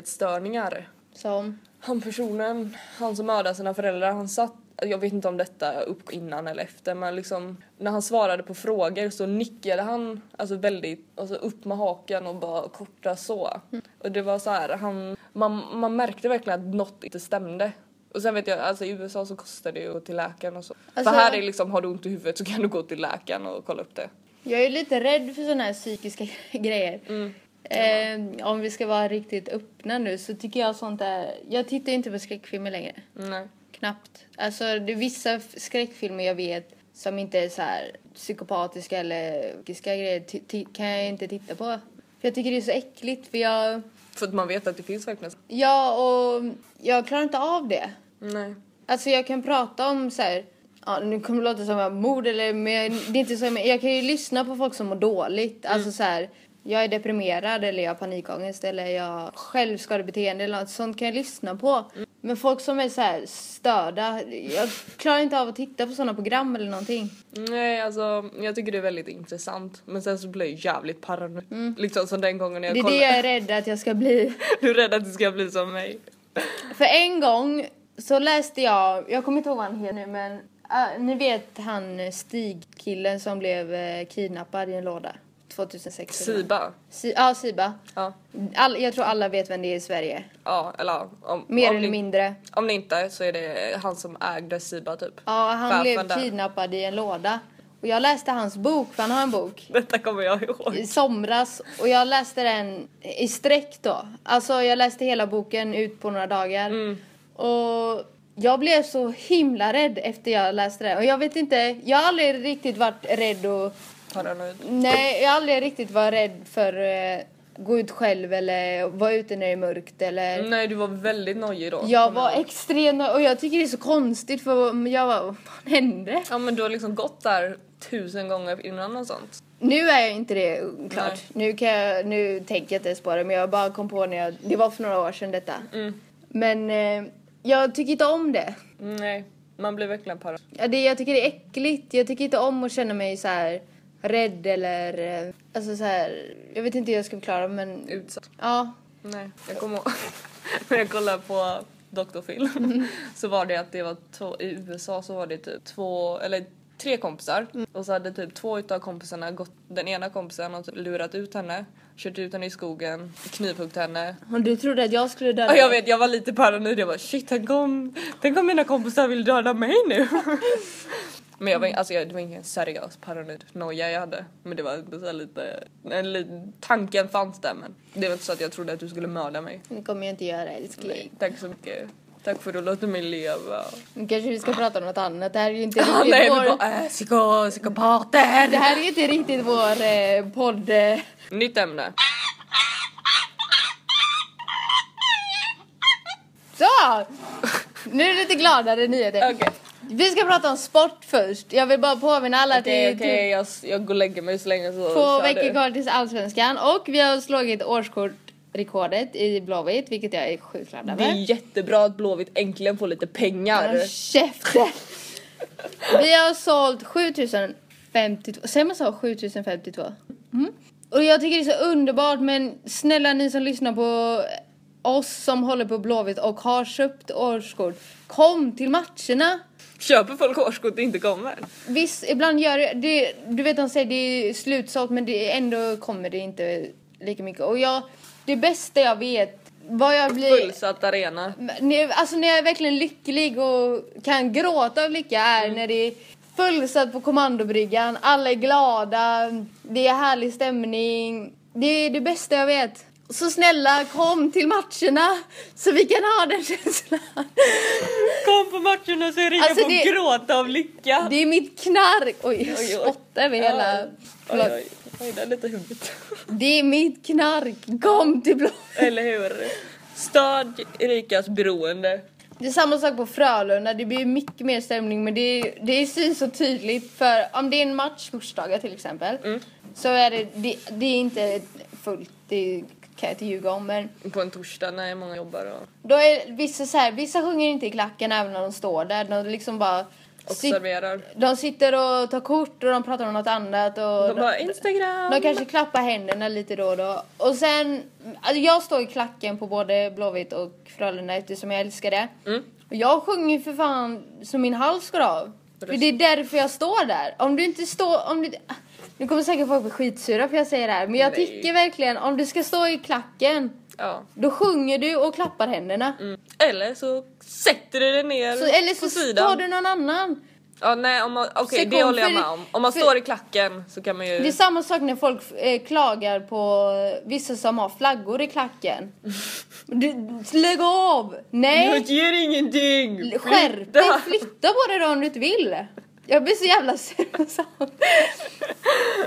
Speaker 2: personlighetsstörningar.
Speaker 1: Som?
Speaker 2: Han personen, han som mördade sina föräldrar, han satt jag vet inte om detta är upp innan eller efter men liksom när han svarade på frågor så nickade han alltså väldigt alltså upp med hakan och bara korta så. Och det var så här, han, man, man märkte verkligen att något inte stämde. Och sen vet jag, alltså i USA så kostar det ju att gå till läkaren och så.
Speaker 1: Alltså-
Speaker 2: För här är liksom, har du ont i huvudet så kan du gå till läkaren och kolla upp det.
Speaker 1: Jag är lite rädd för såna här psykiska <laughs> grejer.
Speaker 2: Mm.
Speaker 1: Eh, om vi ska vara riktigt öppna nu så tycker jag sånt där... Jag tittar inte på skräckfilmer längre.
Speaker 2: Nej.
Speaker 1: Knappt. Alltså det är vissa f- skräckfilmer jag vet som inte är så här psykopatiska eller psykiska grejer ti- ti- kan jag inte titta på. För jag tycker det är så äckligt för jag...
Speaker 2: För att man vet att det finns verkligen.
Speaker 1: Ja och jag klarar inte av det.
Speaker 2: Nej.
Speaker 1: Alltså jag kan prata om så här... Ja, nu kommer det låta som jag har mord eller men jag, det är inte så jag menar. Jag kan ju lyssna på folk som mår dåligt. Alltså så här... Jag är deprimerad eller jag har panikångest eller jag har självskadebeteende eller något sånt kan jag lyssna på. Men folk som är så här störda, jag klarar inte av att titta på sådana program eller någonting.
Speaker 2: Nej, alltså jag tycker det är väldigt intressant. Men sen så blir jag jävligt paranoid. Liksom som den gången jag
Speaker 1: Mm. Det är
Speaker 2: kollade.
Speaker 1: det jag är rädd att jag ska bli.
Speaker 2: Du är rädd att det ska bli som mig.
Speaker 1: För en gång så läste jag, jag kommer inte ihåg vad han heter nu men äh, ni vet han eh, Stig-killen som blev eh, kidnappad i en låda 2006.
Speaker 2: Siba.
Speaker 1: Si- ja, Siba.
Speaker 2: Ja.
Speaker 1: All, jag tror alla vet vem det är i Sverige.
Speaker 2: Ja, eller ja, om,
Speaker 1: Mer
Speaker 2: om
Speaker 1: eller
Speaker 2: ni,
Speaker 1: mindre.
Speaker 2: Om ni inte så är det han som ägde Siba typ.
Speaker 1: Ja, han
Speaker 2: Farfar
Speaker 1: blev
Speaker 2: där.
Speaker 1: kidnappad i en låda. Och jag läste hans bok, för han har en bok.
Speaker 2: Detta kommer jag ihåg.
Speaker 1: i somras och jag läste den i sträck då. Alltså jag läste hela boken ut på några dagar. Och jag blev så himla rädd efter jag läste den. Och jag vet inte, jag har aldrig riktigt varit rädd och...
Speaker 2: Paranoid.
Speaker 1: Nej, jag har aldrig riktigt varit rädd för eh, gå ut själv eller vara ute när det är mörkt eller...
Speaker 2: Nej, du var väldigt nojig då.
Speaker 1: Jag var extremt och jag tycker det är så konstigt för jag var vad fan hände?
Speaker 2: Ja men du har liksom gått där tusen gånger innan och sånt.
Speaker 1: Nu är jag inte det klart. Nu, kan jag, nu tänker jag inte ens på det men jag bara kom på när jag, det var för några år sedan detta.
Speaker 2: Mm.
Speaker 1: Men eh, jag tycker inte om det.
Speaker 2: Nej, man blir verkligen paranoid.
Speaker 1: Ja, det. Jag tycker det är äckligt. Jag tycker inte om att känna mig så här rädd eller eh, alltså så här, jag vet inte hur jag ska förklara men
Speaker 2: Utsatt.
Speaker 1: ja.
Speaker 2: Nej, jag kommer ihåg. <laughs> När jag kollade på Dr. Phil <laughs> så var det att det var två, i USA så var det typ två eller tre kompisar och så hade typ två utav kompisarna gått den ena kompisen och typ lurat ut henne, kört ut henne i skogen, knivhuggt henne.
Speaker 1: Och du trodde att jag skulle döda
Speaker 2: Ja, jag
Speaker 1: dig.
Speaker 2: vet, jag var lite paranoid. Jag bara shit, tänk om, tänk om mina kompisar vill döda mig nu. <laughs> Men jag var, alltså, jag, det var ingen seriös paranoid noja jag hade. Men det var inte så här lite, en, liten- tanken fanns där men det var inte så att jag trodde att du skulle mörda mig.
Speaker 1: Det kommer jag inte göra älskling.
Speaker 2: Tack så mycket. Tack för att du låter mig leva.
Speaker 1: Nu kanske vi ska prata om något annat. Det här är
Speaker 2: <laughs>
Speaker 1: ju inte
Speaker 2: Ah,
Speaker 1: riktigt
Speaker 2: nej, vi
Speaker 1: vår...
Speaker 2: bara äh, psyko, psykopater.
Speaker 1: Det här är ju inte riktigt vår eh, podd... eh,
Speaker 2: Nytt ämne.
Speaker 1: Så! Nu är det lite gladare nyheter.
Speaker 2: Okej.
Speaker 1: Vi ska prata om sport först. Jag vill bara påminna alla att det
Speaker 2: Okej,
Speaker 1: är typ
Speaker 2: okej, jag, jag går och lägger mig så länge så
Speaker 1: två
Speaker 2: kör
Speaker 1: veckor
Speaker 2: du.
Speaker 1: kvar tills Allsvenskan och vi har slagit årskortrekordet i Blåvitt vilket jag är sjukt glad
Speaker 2: Det är
Speaker 1: över.
Speaker 2: jättebra att Blåvitt äntligen får lite pengar.
Speaker 1: Håll käften! Vi har sålt 7052, säger man så? 7052? Mm. Och jag tycker det är så underbart men snälla ni som lyssnar på oss som håller på Blåvitt och har köpt årskort, kom till matcherna!
Speaker 2: Köper folk årskort och inte kommer?
Speaker 1: Visst, ibland gör det, det Du vet de säger det är slutsålt men det är ändå kommer det inte lika mycket. Och jag, det bästa jag vet, vad jag blir...
Speaker 2: Fullsatt arena.
Speaker 1: Nu, alltså när jag är verkligen lycklig och kan gråta av lycka är
Speaker 2: Mm.
Speaker 1: när det är fullsatt på kommandobryggan, alla är glada, det är härlig stämning. Det är det bästa jag vet. Så snälla kom till matcherna så vi kan ha den
Speaker 2: <laughs>
Speaker 1: känslan.
Speaker 2: Kom på matchen och så är Rika
Speaker 1: Alltså,
Speaker 2: får
Speaker 1: det-
Speaker 2: gråta av lycka.
Speaker 1: Det är mitt knark. Oj, jag
Speaker 2: Oj, oj.
Speaker 1: spottar över hela...
Speaker 2: Oj, oj, oj, det är lite huvudet.
Speaker 1: Det är mitt knark, kom till blå.
Speaker 2: <laughs> Eller hur? Stöd Rikas beroende.
Speaker 1: Det är samma sak på Frölunda, det blir mycket mer stämning men det, det syns så tydligt för om det är
Speaker 2: Mm.
Speaker 1: en match torsdagar till exempel så är det, det, det är inte fullt, det är kan jag inte ljuga om men
Speaker 2: På en torsdag när många jobbar och
Speaker 1: då är vissa så här, vissa sjunger inte i klacken även när de står där. De liksom bara sit,
Speaker 2: observerar.
Speaker 1: de sitter och tar kort och de pratar om något annat och
Speaker 2: De bara Instagram!
Speaker 1: De kanske klappar händerna lite då och då. Och sen, alltså jag står i klacken på både Blåvitt och Frölunda eftersom jag älskar det.
Speaker 2: Mm.
Speaker 1: Och jag sjunger för fan så min hals går av. För
Speaker 2: Precis.
Speaker 1: det är därför jag står där. Om du inte står, om du... Nu kommer säkert folk bli skitsura för jag säger det här. Men jag
Speaker 2: Nej.
Speaker 1: tycker verkligen, om du ska stå i klacken,
Speaker 2: Ja.
Speaker 1: då sjunger du och klappar händerna.
Speaker 2: Mm. Eller så sätter du dig ner
Speaker 1: Så, eller
Speaker 2: på
Speaker 1: så
Speaker 2: sidan.
Speaker 1: tar du någon annan.
Speaker 2: Ja, nej, om man, okej,
Speaker 1: Sekund,
Speaker 2: det håller jag
Speaker 1: för-
Speaker 2: med om. Om man
Speaker 1: för-
Speaker 2: står i klacken så kan man ju...
Speaker 1: Det är samma sak när folk eh, klagar på eh, vissa som har flaggor i klacken. Du, lägg av!
Speaker 2: Jag
Speaker 1: Nej!
Speaker 2: ger ingenting!
Speaker 1: Skärp dig! Flytta på dig då om du inte vill! Jag blir så jävla sur på sånt.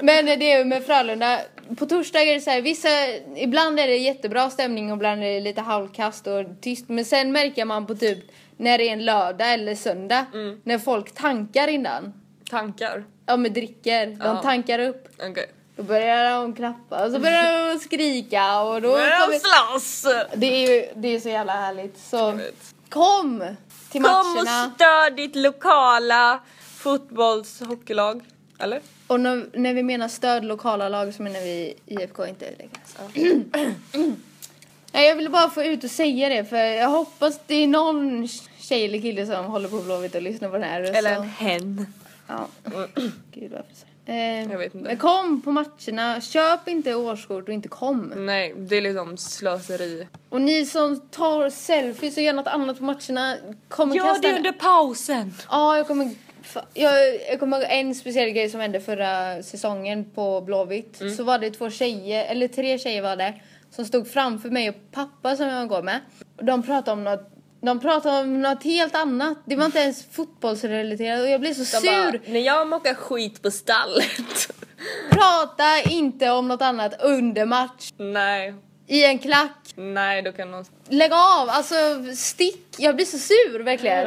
Speaker 1: Men eh, det är ju med Frölunda. På torsdagar är det så här, vissa, ibland är det jättebra stämning och ibland är det lite halvkast och tyst. Men sen märker man på typ när det är en lördag eller söndag.
Speaker 2: Mm.
Speaker 1: När folk tankar innan.
Speaker 2: Tankar?
Speaker 1: Ja men dricker, de
Speaker 2: Ja.
Speaker 1: tankar upp.
Speaker 2: Okej.
Speaker 1: Då börjar de klappa och så börjar de skrika och då
Speaker 2: Men alltså-
Speaker 1: kommer...
Speaker 2: slåss!
Speaker 1: Det är ju det är så jävla härligt så
Speaker 2: Vet.
Speaker 1: kom till
Speaker 2: Kom och
Speaker 1: matcherna.
Speaker 2: stör ditt lokala fotbollshockeylag. Eller?
Speaker 1: Och när, när vi menar stöd lokala lag så menar vi IFK inte det kanske.
Speaker 2: <clears throat>
Speaker 1: Nej, jag ville bara få ut och säga det för jag hoppas det är någon tjej eller kille som håller på Blåvitt och lyssnar på den här. och
Speaker 2: Eller en
Speaker 1: så.
Speaker 2: hen. <clears throat>
Speaker 1: Ja. Gud varför säger jag? Eh,
Speaker 2: Jag vet inte.
Speaker 1: Men kom på matcherna, köp inte årskort och inte kom.
Speaker 2: Nej, det är liksom slöseri.
Speaker 1: Och ni som tar selfies och gör något annat på matcherna kommer
Speaker 2: Gör
Speaker 1: kasta...
Speaker 2: det under pausen!
Speaker 1: Ja, jag kommer... fa- Jag, jag kommer ihåg en speciell grej som hände förra säsongen på Blåvitt.
Speaker 2: Mm.
Speaker 1: Så var det två tjejer, eller tre tjejer var det, som stod framför mig och pappa som jag går med. Och de pratade om något de pratade om något helt annat. Det var inte ens fotbollsrelaterat och jag blev så
Speaker 2: De bara,
Speaker 1: sur.
Speaker 2: när jag mockar skit på stallet. <laughs>
Speaker 1: Prata inte om något annat under match.
Speaker 2: nej,
Speaker 1: I en klack.
Speaker 2: nej då kan någon...
Speaker 1: Lägg av! Alltså stick! Jag blir så sur verkligen.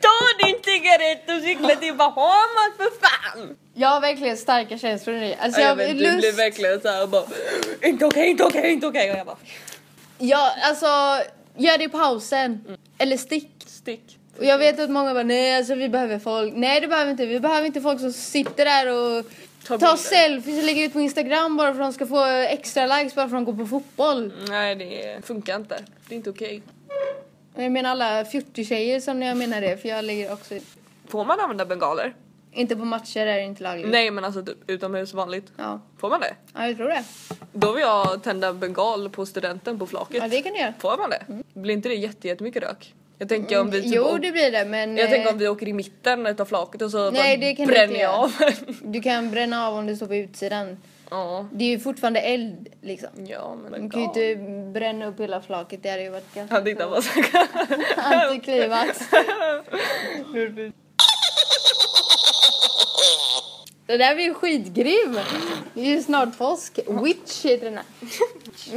Speaker 2: Ta din cigarett och cykla till Bahamas för fan!
Speaker 1: Jag har verkligen starka känslor nu. Alltså
Speaker 2: Ja,
Speaker 1: jag,
Speaker 2: jag
Speaker 1: jag,
Speaker 2: vet, du
Speaker 1: lust...
Speaker 2: blir verkligen såhär bara inte okej, inte okej, inte okej och jag bara
Speaker 1: jag, alltså, gör det i pausen.
Speaker 2: Mm.
Speaker 1: Eller stick.
Speaker 2: stick.
Speaker 1: Och jag vet att många bara nej alltså vi behöver folk. Nej det behöver vi inte. Vi behöver inte folk som sitter där och tar
Speaker 2: Ta bilder.
Speaker 1: selfies och lägger ut på instagram bara för att de ska få extra likes bara för att de går på fotboll.
Speaker 2: Nej det funkar inte, det är inte okej. Mm.
Speaker 1: Och Jag menar alla 40 tjejer som jag menar det för jag lägger också
Speaker 2: Får man använda bengaler?
Speaker 1: inte på matcher är det inte lagligt.
Speaker 2: Nej men alltså typ utomhus vanligt.
Speaker 1: Ja.
Speaker 2: Får man det?
Speaker 1: ja, jag tror det.
Speaker 2: Då vill jag tända bengal på studenten på flaket.
Speaker 1: Ja det kan du göra.
Speaker 2: Får man det? Blir inte det jätte, jättemycket rök? Jag tänker om vi typ
Speaker 1: Mm, Jo
Speaker 2: åker-
Speaker 1: det blir det men
Speaker 2: Jag
Speaker 1: eh,
Speaker 2: tänker om vi åker i mitten utav flaket och så
Speaker 1: Nej,
Speaker 2: bara
Speaker 1: det kan du
Speaker 2: bränner
Speaker 1: inte
Speaker 2: jag
Speaker 1: göra.
Speaker 2: av <laughs> en.
Speaker 1: du kan bränna av om du står på utsidan.
Speaker 2: Ja,
Speaker 1: Det är ju fortfarande eld liksom.
Speaker 2: ja men
Speaker 1: Man kan ju
Speaker 2: bengal.
Speaker 1: inte bränna upp hela flaket, det hade ju varit ganska
Speaker 2: Han tittar
Speaker 1: <laughs>
Speaker 2: på sig.
Speaker 1: antiklimax. Det där blir ju skitgrym! Det är ju snart påsk. Witch heter den här.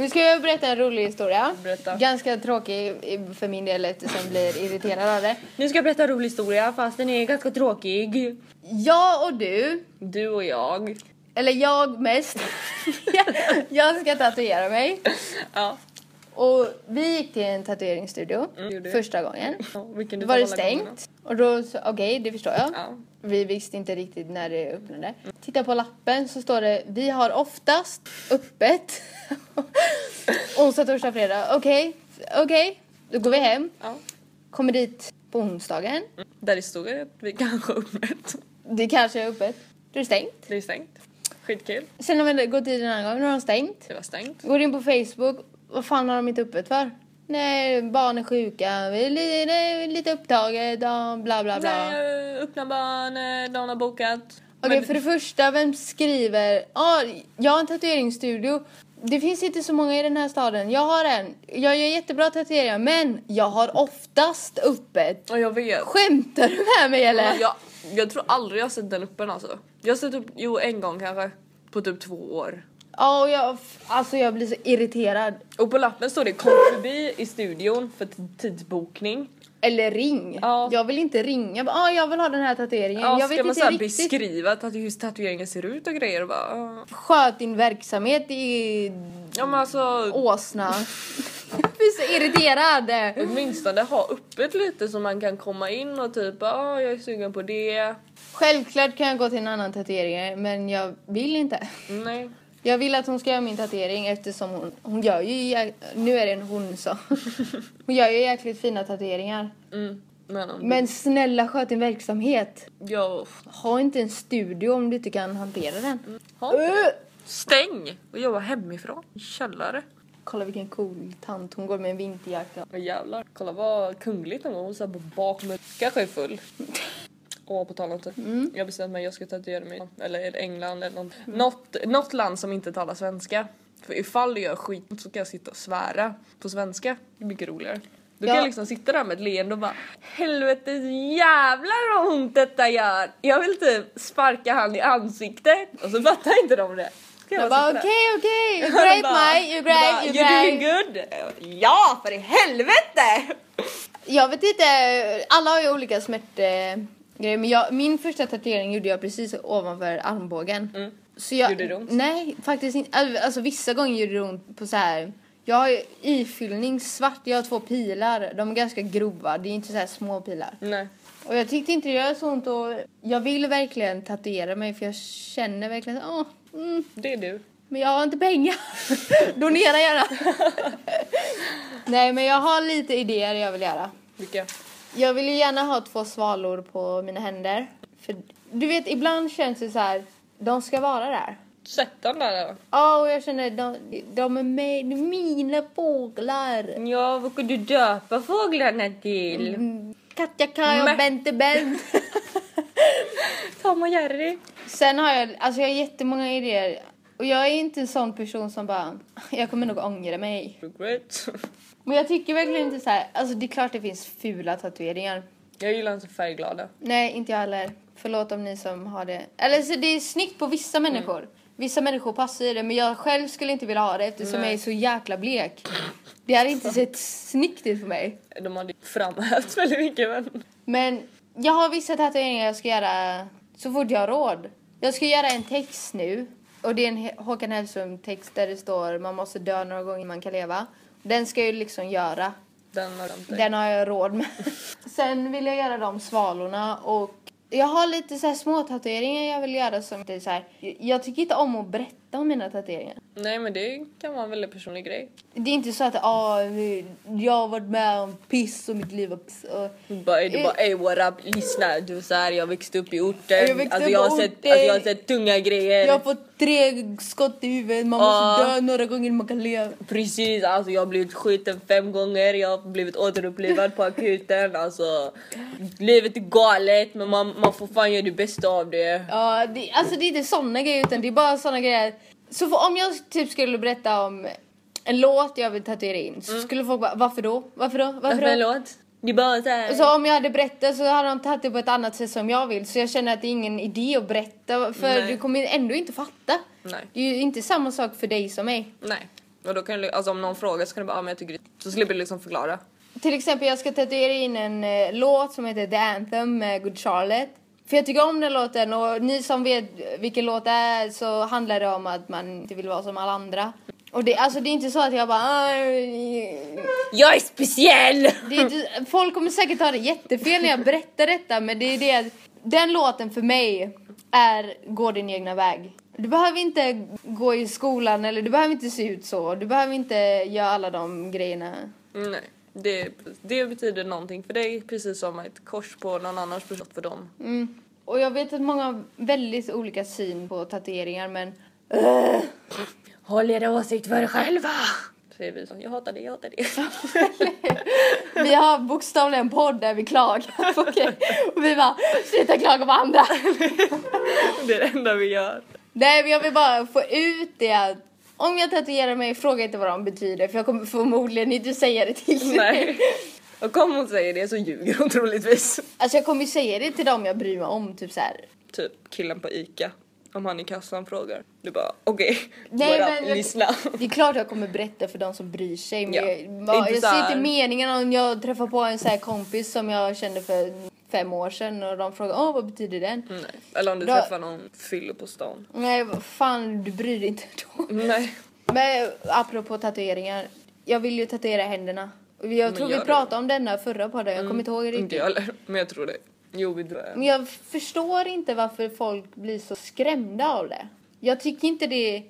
Speaker 1: Nu ska jag berätta en rolig historia.
Speaker 2: Berätta.
Speaker 1: Ganska tråkig i- för min del eftersom jag blir irriterad av det.
Speaker 2: Nu ska jag berätta en rolig historia fast den är ganska tråkig.
Speaker 1: Jag och du,
Speaker 2: Du och jag.
Speaker 1: eller jag mest, <laughs> jag ska tatuera mig.
Speaker 2: Ja.
Speaker 1: Och vi gick till en tatueringsstudio
Speaker 2: Mm, gjorde vi.
Speaker 1: första gången.
Speaker 2: ja vilken
Speaker 1: Då
Speaker 2: du
Speaker 1: var
Speaker 2: tar
Speaker 1: det
Speaker 2: alla gångerna.
Speaker 1: stängt. Och då, så- okej det förstår jag.
Speaker 2: Ja.
Speaker 1: Vi visste inte riktigt när det öppnade. Titta på lappen så står det vi har oftast öppet <laughs> onsdag, torsdag, fredag. Okej, okej. Då går vi hem.
Speaker 2: ja.
Speaker 1: Kommer dit på onsdagen.
Speaker 2: Där det stod att vi kanske har öppet.
Speaker 1: Det kanske är öppet. Då är det stängt.
Speaker 2: Det är stängt. Skitkul.
Speaker 1: Sen har vi gått dit en annan gång. Nu har de stängt.
Speaker 2: Det var stängt.
Speaker 1: Går in på Facebook. Vad fan har de inte öppet för? Nej, barn är sjuka. Vi är li- det är lite upptaget. ja, Bla, bla, bla.
Speaker 2: Nej, öppna barn, eh, någon har bokat.
Speaker 1: Okej,
Speaker 2: Men-
Speaker 1: för det första, vem skriver ah, jag har en tatueringsstudio. Det finns inte så många i den här staden. Jag har en. Jag gör jättebra tatueringar, men jag har oftast öppet.
Speaker 2: Ja, jag vet.
Speaker 1: Skämtar du med mig eller?
Speaker 2: Jag, jag tror aldrig jag har sett den öppen alltså. Jag har sett upp, jo en gång kanske. På typ två år.
Speaker 1: Ja, och jag, alltså jag blir så irriterad.
Speaker 2: Och på lappen står det kom förbi i studion för t- tidsbokning.
Speaker 1: Eller ring.
Speaker 2: Ja.
Speaker 1: Jag vill inte ringa. Ja, jag vill ha den här tatueringen.
Speaker 2: Ja,
Speaker 1: jag
Speaker 2: ska
Speaker 1: vet
Speaker 2: man
Speaker 1: inte
Speaker 2: så här
Speaker 1: riktigt.
Speaker 2: beskriva tatu- hur tatueringen ser ut och grejer och bara... ja.
Speaker 1: Sköt din verksamhet i
Speaker 2: Ja men alltså
Speaker 1: åsna. <laughs> jag blir så irriterad.
Speaker 2: åtminstone ha öppet lite så man kan komma in och typ ja jag är sugen på det.
Speaker 1: Självklart kan jag gå till en annan tatuerare, men jag vill inte.
Speaker 2: Nej.
Speaker 1: Jag vill att hon ska göra min tatuering eftersom hon, hon gör ju... jä- Nu är det en hon
Speaker 2: <laughs>
Speaker 1: så. Hon gör ju jäkligt fina tatueringar.
Speaker 2: Mm. Men, om-
Speaker 1: Men snälla sköt din verksamhet.
Speaker 2: ja,
Speaker 1: Ha inte en studio om du inte kan hantera den.
Speaker 2: ha.
Speaker 1: Öh!
Speaker 2: Stäng! Och jobba hemifrån. I Källare.
Speaker 1: Kolla vilken cool tant hon går med en vinterjacka.
Speaker 2: Åh jävlar. Kolla vad kungligt hon var. Hon satt på bak med kanske är full.
Speaker 1: <laughs>
Speaker 2: Åh på tal om det.
Speaker 1: Mm.
Speaker 2: Jag har bestämt mig jag ska tatuera mig. Eller England eller något. Något, något land som inte talar svenska. För ifall du gör skit så kan jag sitta och svära på svenska. Det är mycket roligare. Då kan
Speaker 1: Ja.
Speaker 2: jag liksom sitta där med ett leende och bara Helvetes jävlar vad ont detta gör! Jag vill typ sparka han i ansiktet! Och så fattar inte de det. Så kan
Speaker 1: Jag
Speaker 2: bara
Speaker 1: bara
Speaker 2: sitta
Speaker 1: okej
Speaker 2: där. <laughs>
Speaker 1: okej,
Speaker 2: Och de
Speaker 1: okay,
Speaker 2: bara-
Speaker 1: mig, you
Speaker 2: de bara,
Speaker 1: brave, you
Speaker 2: You're doing
Speaker 1: brave.
Speaker 2: good! Ja, för i helvete!
Speaker 1: Jag vet inte, alla har ju olika smärtgrejer men jag, min första tatuering gjorde jag precis ovanför armbågen.
Speaker 2: Mm.
Speaker 1: Så jag,
Speaker 2: Gjorde det ont?
Speaker 1: Nej, faktiskt inte. Al- Alltså vissa gånger gjorde det ont på så här. Jag har ju ifyllning svart, jag har två pilar. De är ganska grova, det är inte så här små pilar.
Speaker 2: Nej.
Speaker 1: Och jag tyckte inte det gör så ont och jag vill verkligen tatuera mig för jag känner verkligen att åh, mm,
Speaker 2: Det är du.
Speaker 1: men jag har inte
Speaker 2: <laughs>
Speaker 1: pengar. Donera gärna. nej men jag har lite idéer jag vill göra.
Speaker 2: Vilka?
Speaker 1: Jag vill ju gärna ha två svalor på mina händer. För du vet, ibland känns det så här, de ska vara där.
Speaker 2: Sätt den där då.
Speaker 1: Ja, och jag känner de, de är med, de är mina fåglar.
Speaker 2: Ja, vad kunde du döpa fåglarna till?
Speaker 1: Mm, Katja, Kaja,
Speaker 2: Mä.
Speaker 1: och Bente, Bent.
Speaker 2: Tom och Jerry.
Speaker 1: Sen har jag, alltså jag har jättemånga idéer. Och jag är inte en sån person som bara, jag kommer nog ångra mig.
Speaker 2: Regret.
Speaker 1: Men jag tycker verkligen inte så här, alltså det är klart det finns fula tatueringar.
Speaker 2: Jag gillar inte färgglada.
Speaker 1: Nej, inte jag heller. Förlåt om ni som har det. Eller så det är snyggt på vissa människor. Vissa människor passar i det, men jag själv skulle inte vilja ha det eftersom
Speaker 2: Nej.
Speaker 1: jag är så jäkla blek. Det hade inte sett snyggt ut för mig.
Speaker 2: De hade framhävt väldigt mycket men...
Speaker 1: Men jag har vissa tatueringar jag ska göra så fort jag har råd. Jag ska göra en text nu. Och det är en H- Håkan Hellström-text där det står man måste dö några gånger man kan leva. Den ska jag ju liksom göra.
Speaker 2: Den har glömt dig.
Speaker 1: Den har jag råd med. <laughs> Sen vill jag göra de svalorna och jag har lite så här små tatueringar jag vill göra som det är så här. Jag tycker inte om att berätta om mina tatueringar.
Speaker 2: Nej men det kan vara en väldigt personlig grej.
Speaker 1: Det är inte så att ah, jag har varit med om piss och mitt liv var piss. Och
Speaker 2: Bara, är du bara ey what up, lyssna du så här, jag växte upp i orten.
Speaker 1: Jag växte
Speaker 2: alltså,
Speaker 1: upp
Speaker 2: jag har
Speaker 1: på
Speaker 2: sett,
Speaker 1: orten.
Speaker 2: alltså jag har sett tunga grejer.
Speaker 1: jag har fått tre skott i huvudet, man måste
Speaker 2: Ja.
Speaker 1: dö några gånger man kan leva.
Speaker 2: Precis, alltså jag har blivit skjuten fem gånger, jag har blivit återupplivad på akuten. Alltså, livet är galet men man, man får fan göra det bästa av det.
Speaker 1: Ja, det, alltså det är inte såna grejer utan det är bara såna grejer. Så för, om jag typ skulle berätta om en låt jag vill tatuera in så skulle folk bara varför då? Varför då? Mm. Varför då?
Speaker 2: Förlåt? Det är bara såhär...
Speaker 1: Så Alltså, om jag hade berättat så hade de tagit det på ett annat sätt som jag vill. Så jag känner att det är ingen idé att berätta för
Speaker 2: Nej.
Speaker 1: du kommer ändå inte fatta.
Speaker 2: Nej.
Speaker 1: Det är ju inte samma sak för dig som mig.
Speaker 2: Nej. Och då kan du, alltså om någon frågar så kan du bara ah, men jag tycker det. Så slipper du liksom förklara.
Speaker 1: Till exempel jag ska tatuera in en eh, låt som heter The Anthem med Good Charlotte. För jag tycker om den låten och ni som vet vilken låt det är så handlar det om att man inte vill vara som alla andra. Och det, alltså det är inte så att jag bara... "Aj."
Speaker 2: Jag är speciell!
Speaker 1: Det är inte, folk kommer säkert ta det jättefel när jag berättar detta men det är det att den låten för mig är gå din egna väg. Du behöver inte gå i skolan eller du behöver inte se ut så. Du behöver inte göra alla de grejerna.
Speaker 2: Mm, Nej. Det, det betyder någonting för dig precis som ett kors på någon annans person för dem.
Speaker 1: Mm. Och jag vet att många har väldigt olika syn på tatueringar men
Speaker 2: Håll er åsikt för er själva! Säger vi. Jag hatar det, jag hatar det. <laughs>
Speaker 1: vi har bokstavligen en podd där vi klagar <laughs> på grejer. Och vi bara sluta klaga på andra.
Speaker 2: det är det enda vi gör.
Speaker 1: Nej men jag vill bara få ut det att om jag tatuerar mig, fråga inte vad de betyder för jag kommer förmodligen inte säga det till dig.
Speaker 2: <laughs> Nej. Och om hon säger det så ljuger hon troligtvis.
Speaker 1: Alltså jag kommer ju säga det till dem jag bryr mig om, typ så här.
Speaker 2: Typ killen på Ica. om han i kassan frågar. Du bara okej,
Speaker 1: Nej,
Speaker 2: bara
Speaker 1: men-
Speaker 2: lyssna.
Speaker 1: Det är klart jag kommer berätta för de som bryr sig. Men
Speaker 2: Ja.
Speaker 1: jag, va-
Speaker 2: Inte
Speaker 1: jag
Speaker 2: så
Speaker 1: ser
Speaker 2: här-
Speaker 1: inte meningen om jag träffar på en så här kompis som jag kände för fem år sedan och de frågar åh vad betyder den?
Speaker 2: Nej. Eller om du
Speaker 1: Då-
Speaker 2: träffar någon fyllo på stan. Mm.
Speaker 1: Nej vad fan du bryr dig inte då.
Speaker 2: Nej.
Speaker 1: Men apropå tatueringar. Jag vill ju tatuera händerna. Jag
Speaker 2: Men
Speaker 1: tror
Speaker 2: gör
Speaker 1: vi
Speaker 2: det. Mm,
Speaker 1: pratade om denna förra podden, jag kommer inte ihåg
Speaker 2: Inte
Speaker 1: riktigt.
Speaker 2: jag heller, men jag tror det. Jo, vi drar.
Speaker 1: Men jag förstår inte varför folk blir så skrämda av det. Jag tycker inte det...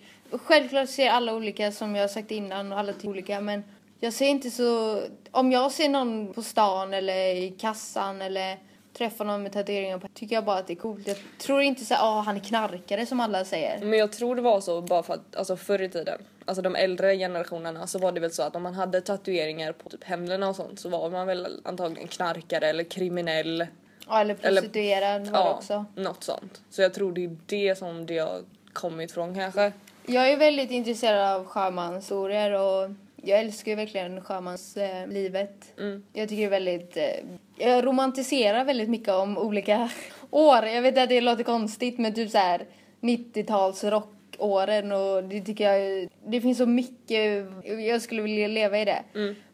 Speaker 1: Självklart ser alla olika som jag har sagt innan och alla tycker olika men jag ser inte så... Om jag ser någon på stan eller i kassan eller träffar någon med tatueringar på tycker jag bara att det är coolt. Jag tror inte så ah han är knarkare som alla säger.
Speaker 2: Men jag tror det var så bara för att alltså förr i tiden, alltså de äldre generationerna så var det väl så att om man hade tatueringar på typ händerna och sånt så var man väl antagligen knarkare eller kriminell.
Speaker 1: Ja, eller
Speaker 2: Eller-
Speaker 1: prostituerad var det
Speaker 2: Ja,
Speaker 1: också.
Speaker 2: något sånt. Så jag tror det är det som det har kommit från kanske.
Speaker 1: Jag är väldigt intresserad av sjömanshistorier och jag älskar ju verkligen sjömanslivet. Eh, livet.
Speaker 2: Mm.
Speaker 1: Jag tycker det är väldigt... Eh, jag romantiserar väldigt mycket om olika <laughs> år. Jag vet att det låter konstigt men typ så här 90-tals rockåren och det tycker jag... är- Det finns så mycket... Jag skulle vilja leva i det.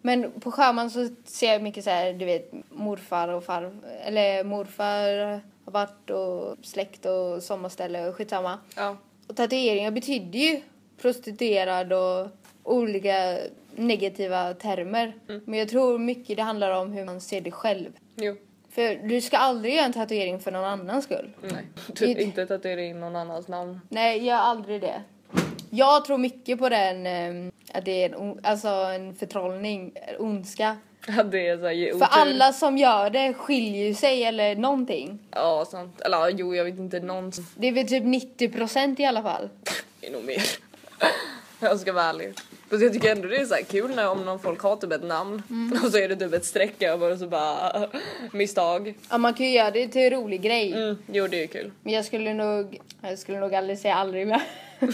Speaker 1: Men på sjöman så ser jag mycket så här, du vet morfar och far... Eller morfar har varit och släkt och sommarställe och skitsamma.
Speaker 2: Ja.
Speaker 1: Och tatueringar betyder ju prostituerad och olika negativa termer. Men jag tror mycket det handlar om hur man ser det själv.
Speaker 2: Jo.
Speaker 1: För du ska aldrig göra en tatuering för någon annans skull. <laughs>
Speaker 2: Nej. Typ
Speaker 1: Det-
Speaker 2: inte tatuera in någon annans namn. <laughs>
Speaker 1: Nej, gör aldrig det. Jag tror mycket på den, eh, att det är en, o- alltså en förtrollning, eh, ondska.
Speaker 2: Att det är såhär ge otur.
Speaker 1: För alla som gör det skiljer ju sig eller någonting.
Speaker 2: Ja sant. Eller ja, jo jag vet inte någon som <laughs>
Speaker 1: Det är väl typ 90% i alla fall.
Speaker 2: är nog mer. <laughs> Jag ska vara ärlig. Fast jag tycker ändå det är så här kul när om någon folk har typ ett namn
Speaker 1: Mm.
Speaker 2: <laughs> och så är det typ ett streck över och så bara <laughs> misstag.
Speaker 1: Ja, man kan ju göra det till en rolig grej.
Speaker 2: Mm, jo det är kul.
Speaker 1: Men jag skulle nog, jag skulle nog aldrig säga aldrig men <laughs>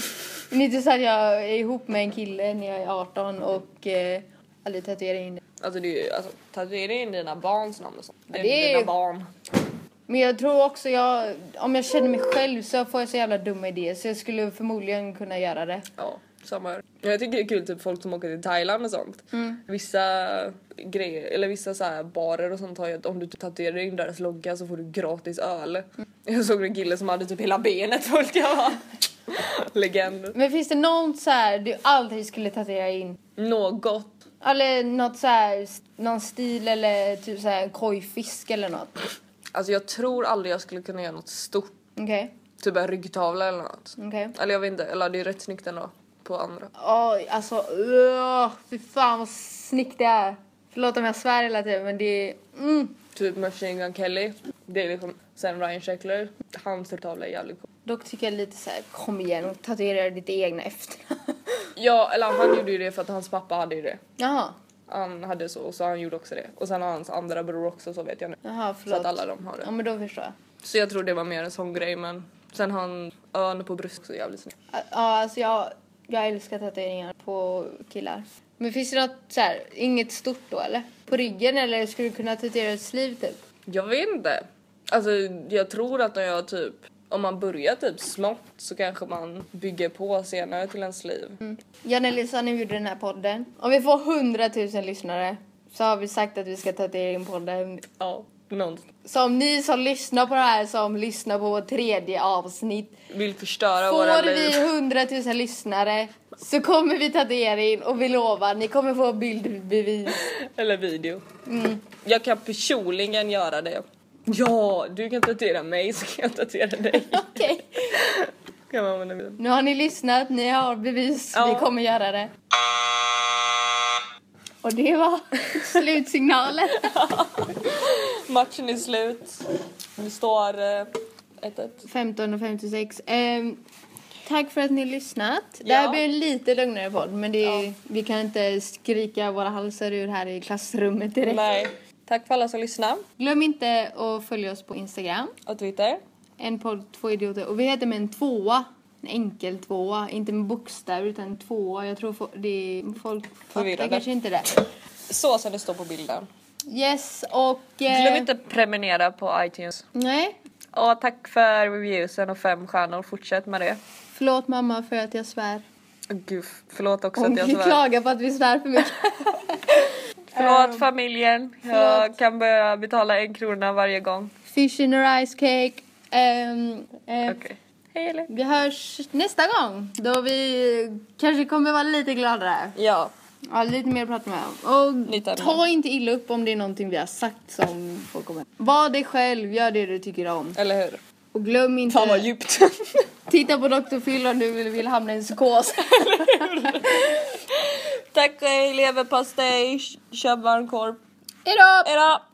Speaker 1: men inte så att jag är ihop med en kille när jag är 18 och eh, aldrig tatuerar in det.
Speaker 2: Alltså det är ju, alltså tatuera in dina barns namn och sånt. Det är,
Speaker 1: det är ju-
Speaker 2: dina barn.
Speaker 1: Men jag tror också jag, om jag känner mig själv så får jag så jävla dumma idéer så jag skulle förmodligen kunna göra det.
Speaker 2: Ja, samma här. Jag tycker det är kul typ folk som åker till Thailand och sånt. Vissa grejer, eller vissa så här barer och sånt har ju att om du typ tatuerar in deras logga så får du gratis öl. Jag såg en kille som hade typ hela benet fullt, jag bara... Legend.
Speaker 1: Men finns det något så här du aldrig skulle tatuera in?
Speaker 2: Något
Speaker 1: Eller något så här, någon stil eller typ så här en kojfisk eller något?
Speaker 2: Alltså jag tror aldrig jag skulle kunna göra något stort.
Speaker 1: Okej,
Speaker 2: Typ en ryggtavla eller något.
Speaker 1: okej.
Speaker 2: Eller jag vet inte, eller det är rätt snyggt ändå. På andra.
Speaker 1: Oj, alltså öh, fy fan vad snyggt det är. Förlåt om jag svär hela tiden men det är... Mm.
Speaker 2: Typ Machine Gun Kelly. Det är liksom, sen Ryan Sheckler. Hans ryggtavla är jävligt cool.
Speaker 1: Dock tycker jag lite så här, kom igen och tatuera ditt egna efter. <laughs>
Speaker 2: Ja, eller han gjorde ju det för att hans pappa hade ju det.
Speaker 1: jaha,
Speaker 2: Han hade så och så han gjorde också det. Och sen har hans andra bror också så vet jag nu.
Speaker 1: jaha
Speaker 2: Så
Speaker 1: förlåt.
Speaker 2: att alla de har
Speaker 1: Ja
Speaker 2: det.
Speaker 1: men då förstår jag.
Speaker 2: Så jag tror det var mer en sån grej men sen har han ön på bröstet också jävligt snyggt.
Speaker 1: Ja alltså jag, jag älskar tatueringar på killar. Men finns det något så här, inget stort då eller? På ryggen eller skulle du kunna tatuera ett sliv typ?
Speaker 2: Jag vet inte. Alltså jag tror att när jag typ om man börjar typ smått så kanske man bygger på senare till ens liv.
Speaker 1: Mm. Janne-Lisa, nu gjorde den här podden. Om vi får 100 000 lyssnare så har vi sagt att vi ska tatuera in podden
Speaker 2: Ja, någonstans.
Speaker 1: Så om ni som lyssnar på det här som lyssnar på vårt tredje avsnitt.
Speaker 2: Vill förstöra våra
Speaker 1: Får
Speaker 2: liv. <laughs>
Speaker 1: vi 100 000 lyssnare så kommer vi tatuera in och vi lovar, ni kommer få
Speaker 2: <laughs>
Speaker 1: bildbevis.
Speaker 2: Eller video.
Speaker 1: Mm.
Speaker 2: Jag kan personligen göra det. Ja, du kan tatuera mig så kan jag tatuera
Speaker 1: <laughs>
Speaker 2: dig.
Speaker 1: Okej.
Speaker 2: kan man använda bilden.
Speaker 1: Nu har ni lyssnat, ni har bevis, vi
Speaker 2: Ja.
Speaker 1: kommer göra det. Och det
Speaker 2: <laughs>
Speaker 1: var slutsignalen.
Speaker 2: <laughs> Matchen är slut. Det står eh, 1-1.
Speaker 1: 15.56. Ehm, tack för att ni har lyssnat. Det här
Speaker 2: Ja.
Speaker 1: blir en lite lugnare podd men det är, vi kan inte skrika våra halsar ur här i klassrummet direkt.
Speaker 2: Nej. Tack för alla som lyssnade.
Speaker 1: Glöm inte att följa oss på Instagram.
Speaker 2: Och Twitter.
Speaker 1: En podd, två idioter. Och vi heter med en tvåa. En enkel tvåa. Inte med bokstäver utan en tvåa. Jag tror fo- det är, folk fattar
Speaker 2: Förvirrade.
Speaker 1: kanske inte det.
Speaker 2: Så som det står på bilden.
Speaker 1: Yes och... eh,
Speaker 2: Glöm inte prenumerera på iTunes.
Speaker 1: Nej.
Speaker 2: Ja, tack för reviewsen och fem stjärnor. Fortsätt med det.
Speaker 1: Förlåt mamma för att jag svär.
Speaker 2: Åh, Gud, förlåt också
Speaker 1: Hon
Speaker 2: att jag svär.
Speaker 1: klagar på att vi svär för
Speaker 2: <laughs>
Speaker 1: mycket.
Speaker 2: Förlåt
Speaker 1: Ehm,
Speaker 2: familjen. Jag
Speaker 1: förlåt.
Speaker 2: kan börja betala en krona varje gång.
Speaker 1: Fish in a rice cake. Ehm, ehm,
Speaker 2: Okej. Hej Elin.
Speaker 1: Vi hörs nästa gång då vi kanske kommer vara lite gladare.
Speaker 2: Ja.
Speaker 1: Ja, lite mer att prata med om.
Speaker 2: Nytt
Speaker 1: Och
Speaker 2: ämne.
Speaker 1: ta inte illa upp om det är någonting vi har sagt som folk kommer. Var dig själv, gör det du tycker om.
Speaker 2: Eller hur?
Speaker 1: Och glöm inte...
Speaker 2: Fan vad <laughs> djupt.
Speaker 1: Titta på Dr. Phil om du vill, vill hamna i en psykos. <laughs>
Speaker 2: Tack och hej leverpastej, kör varmkorv.
Speaker 1: Hejdå!
Speaker 2: Hejdå!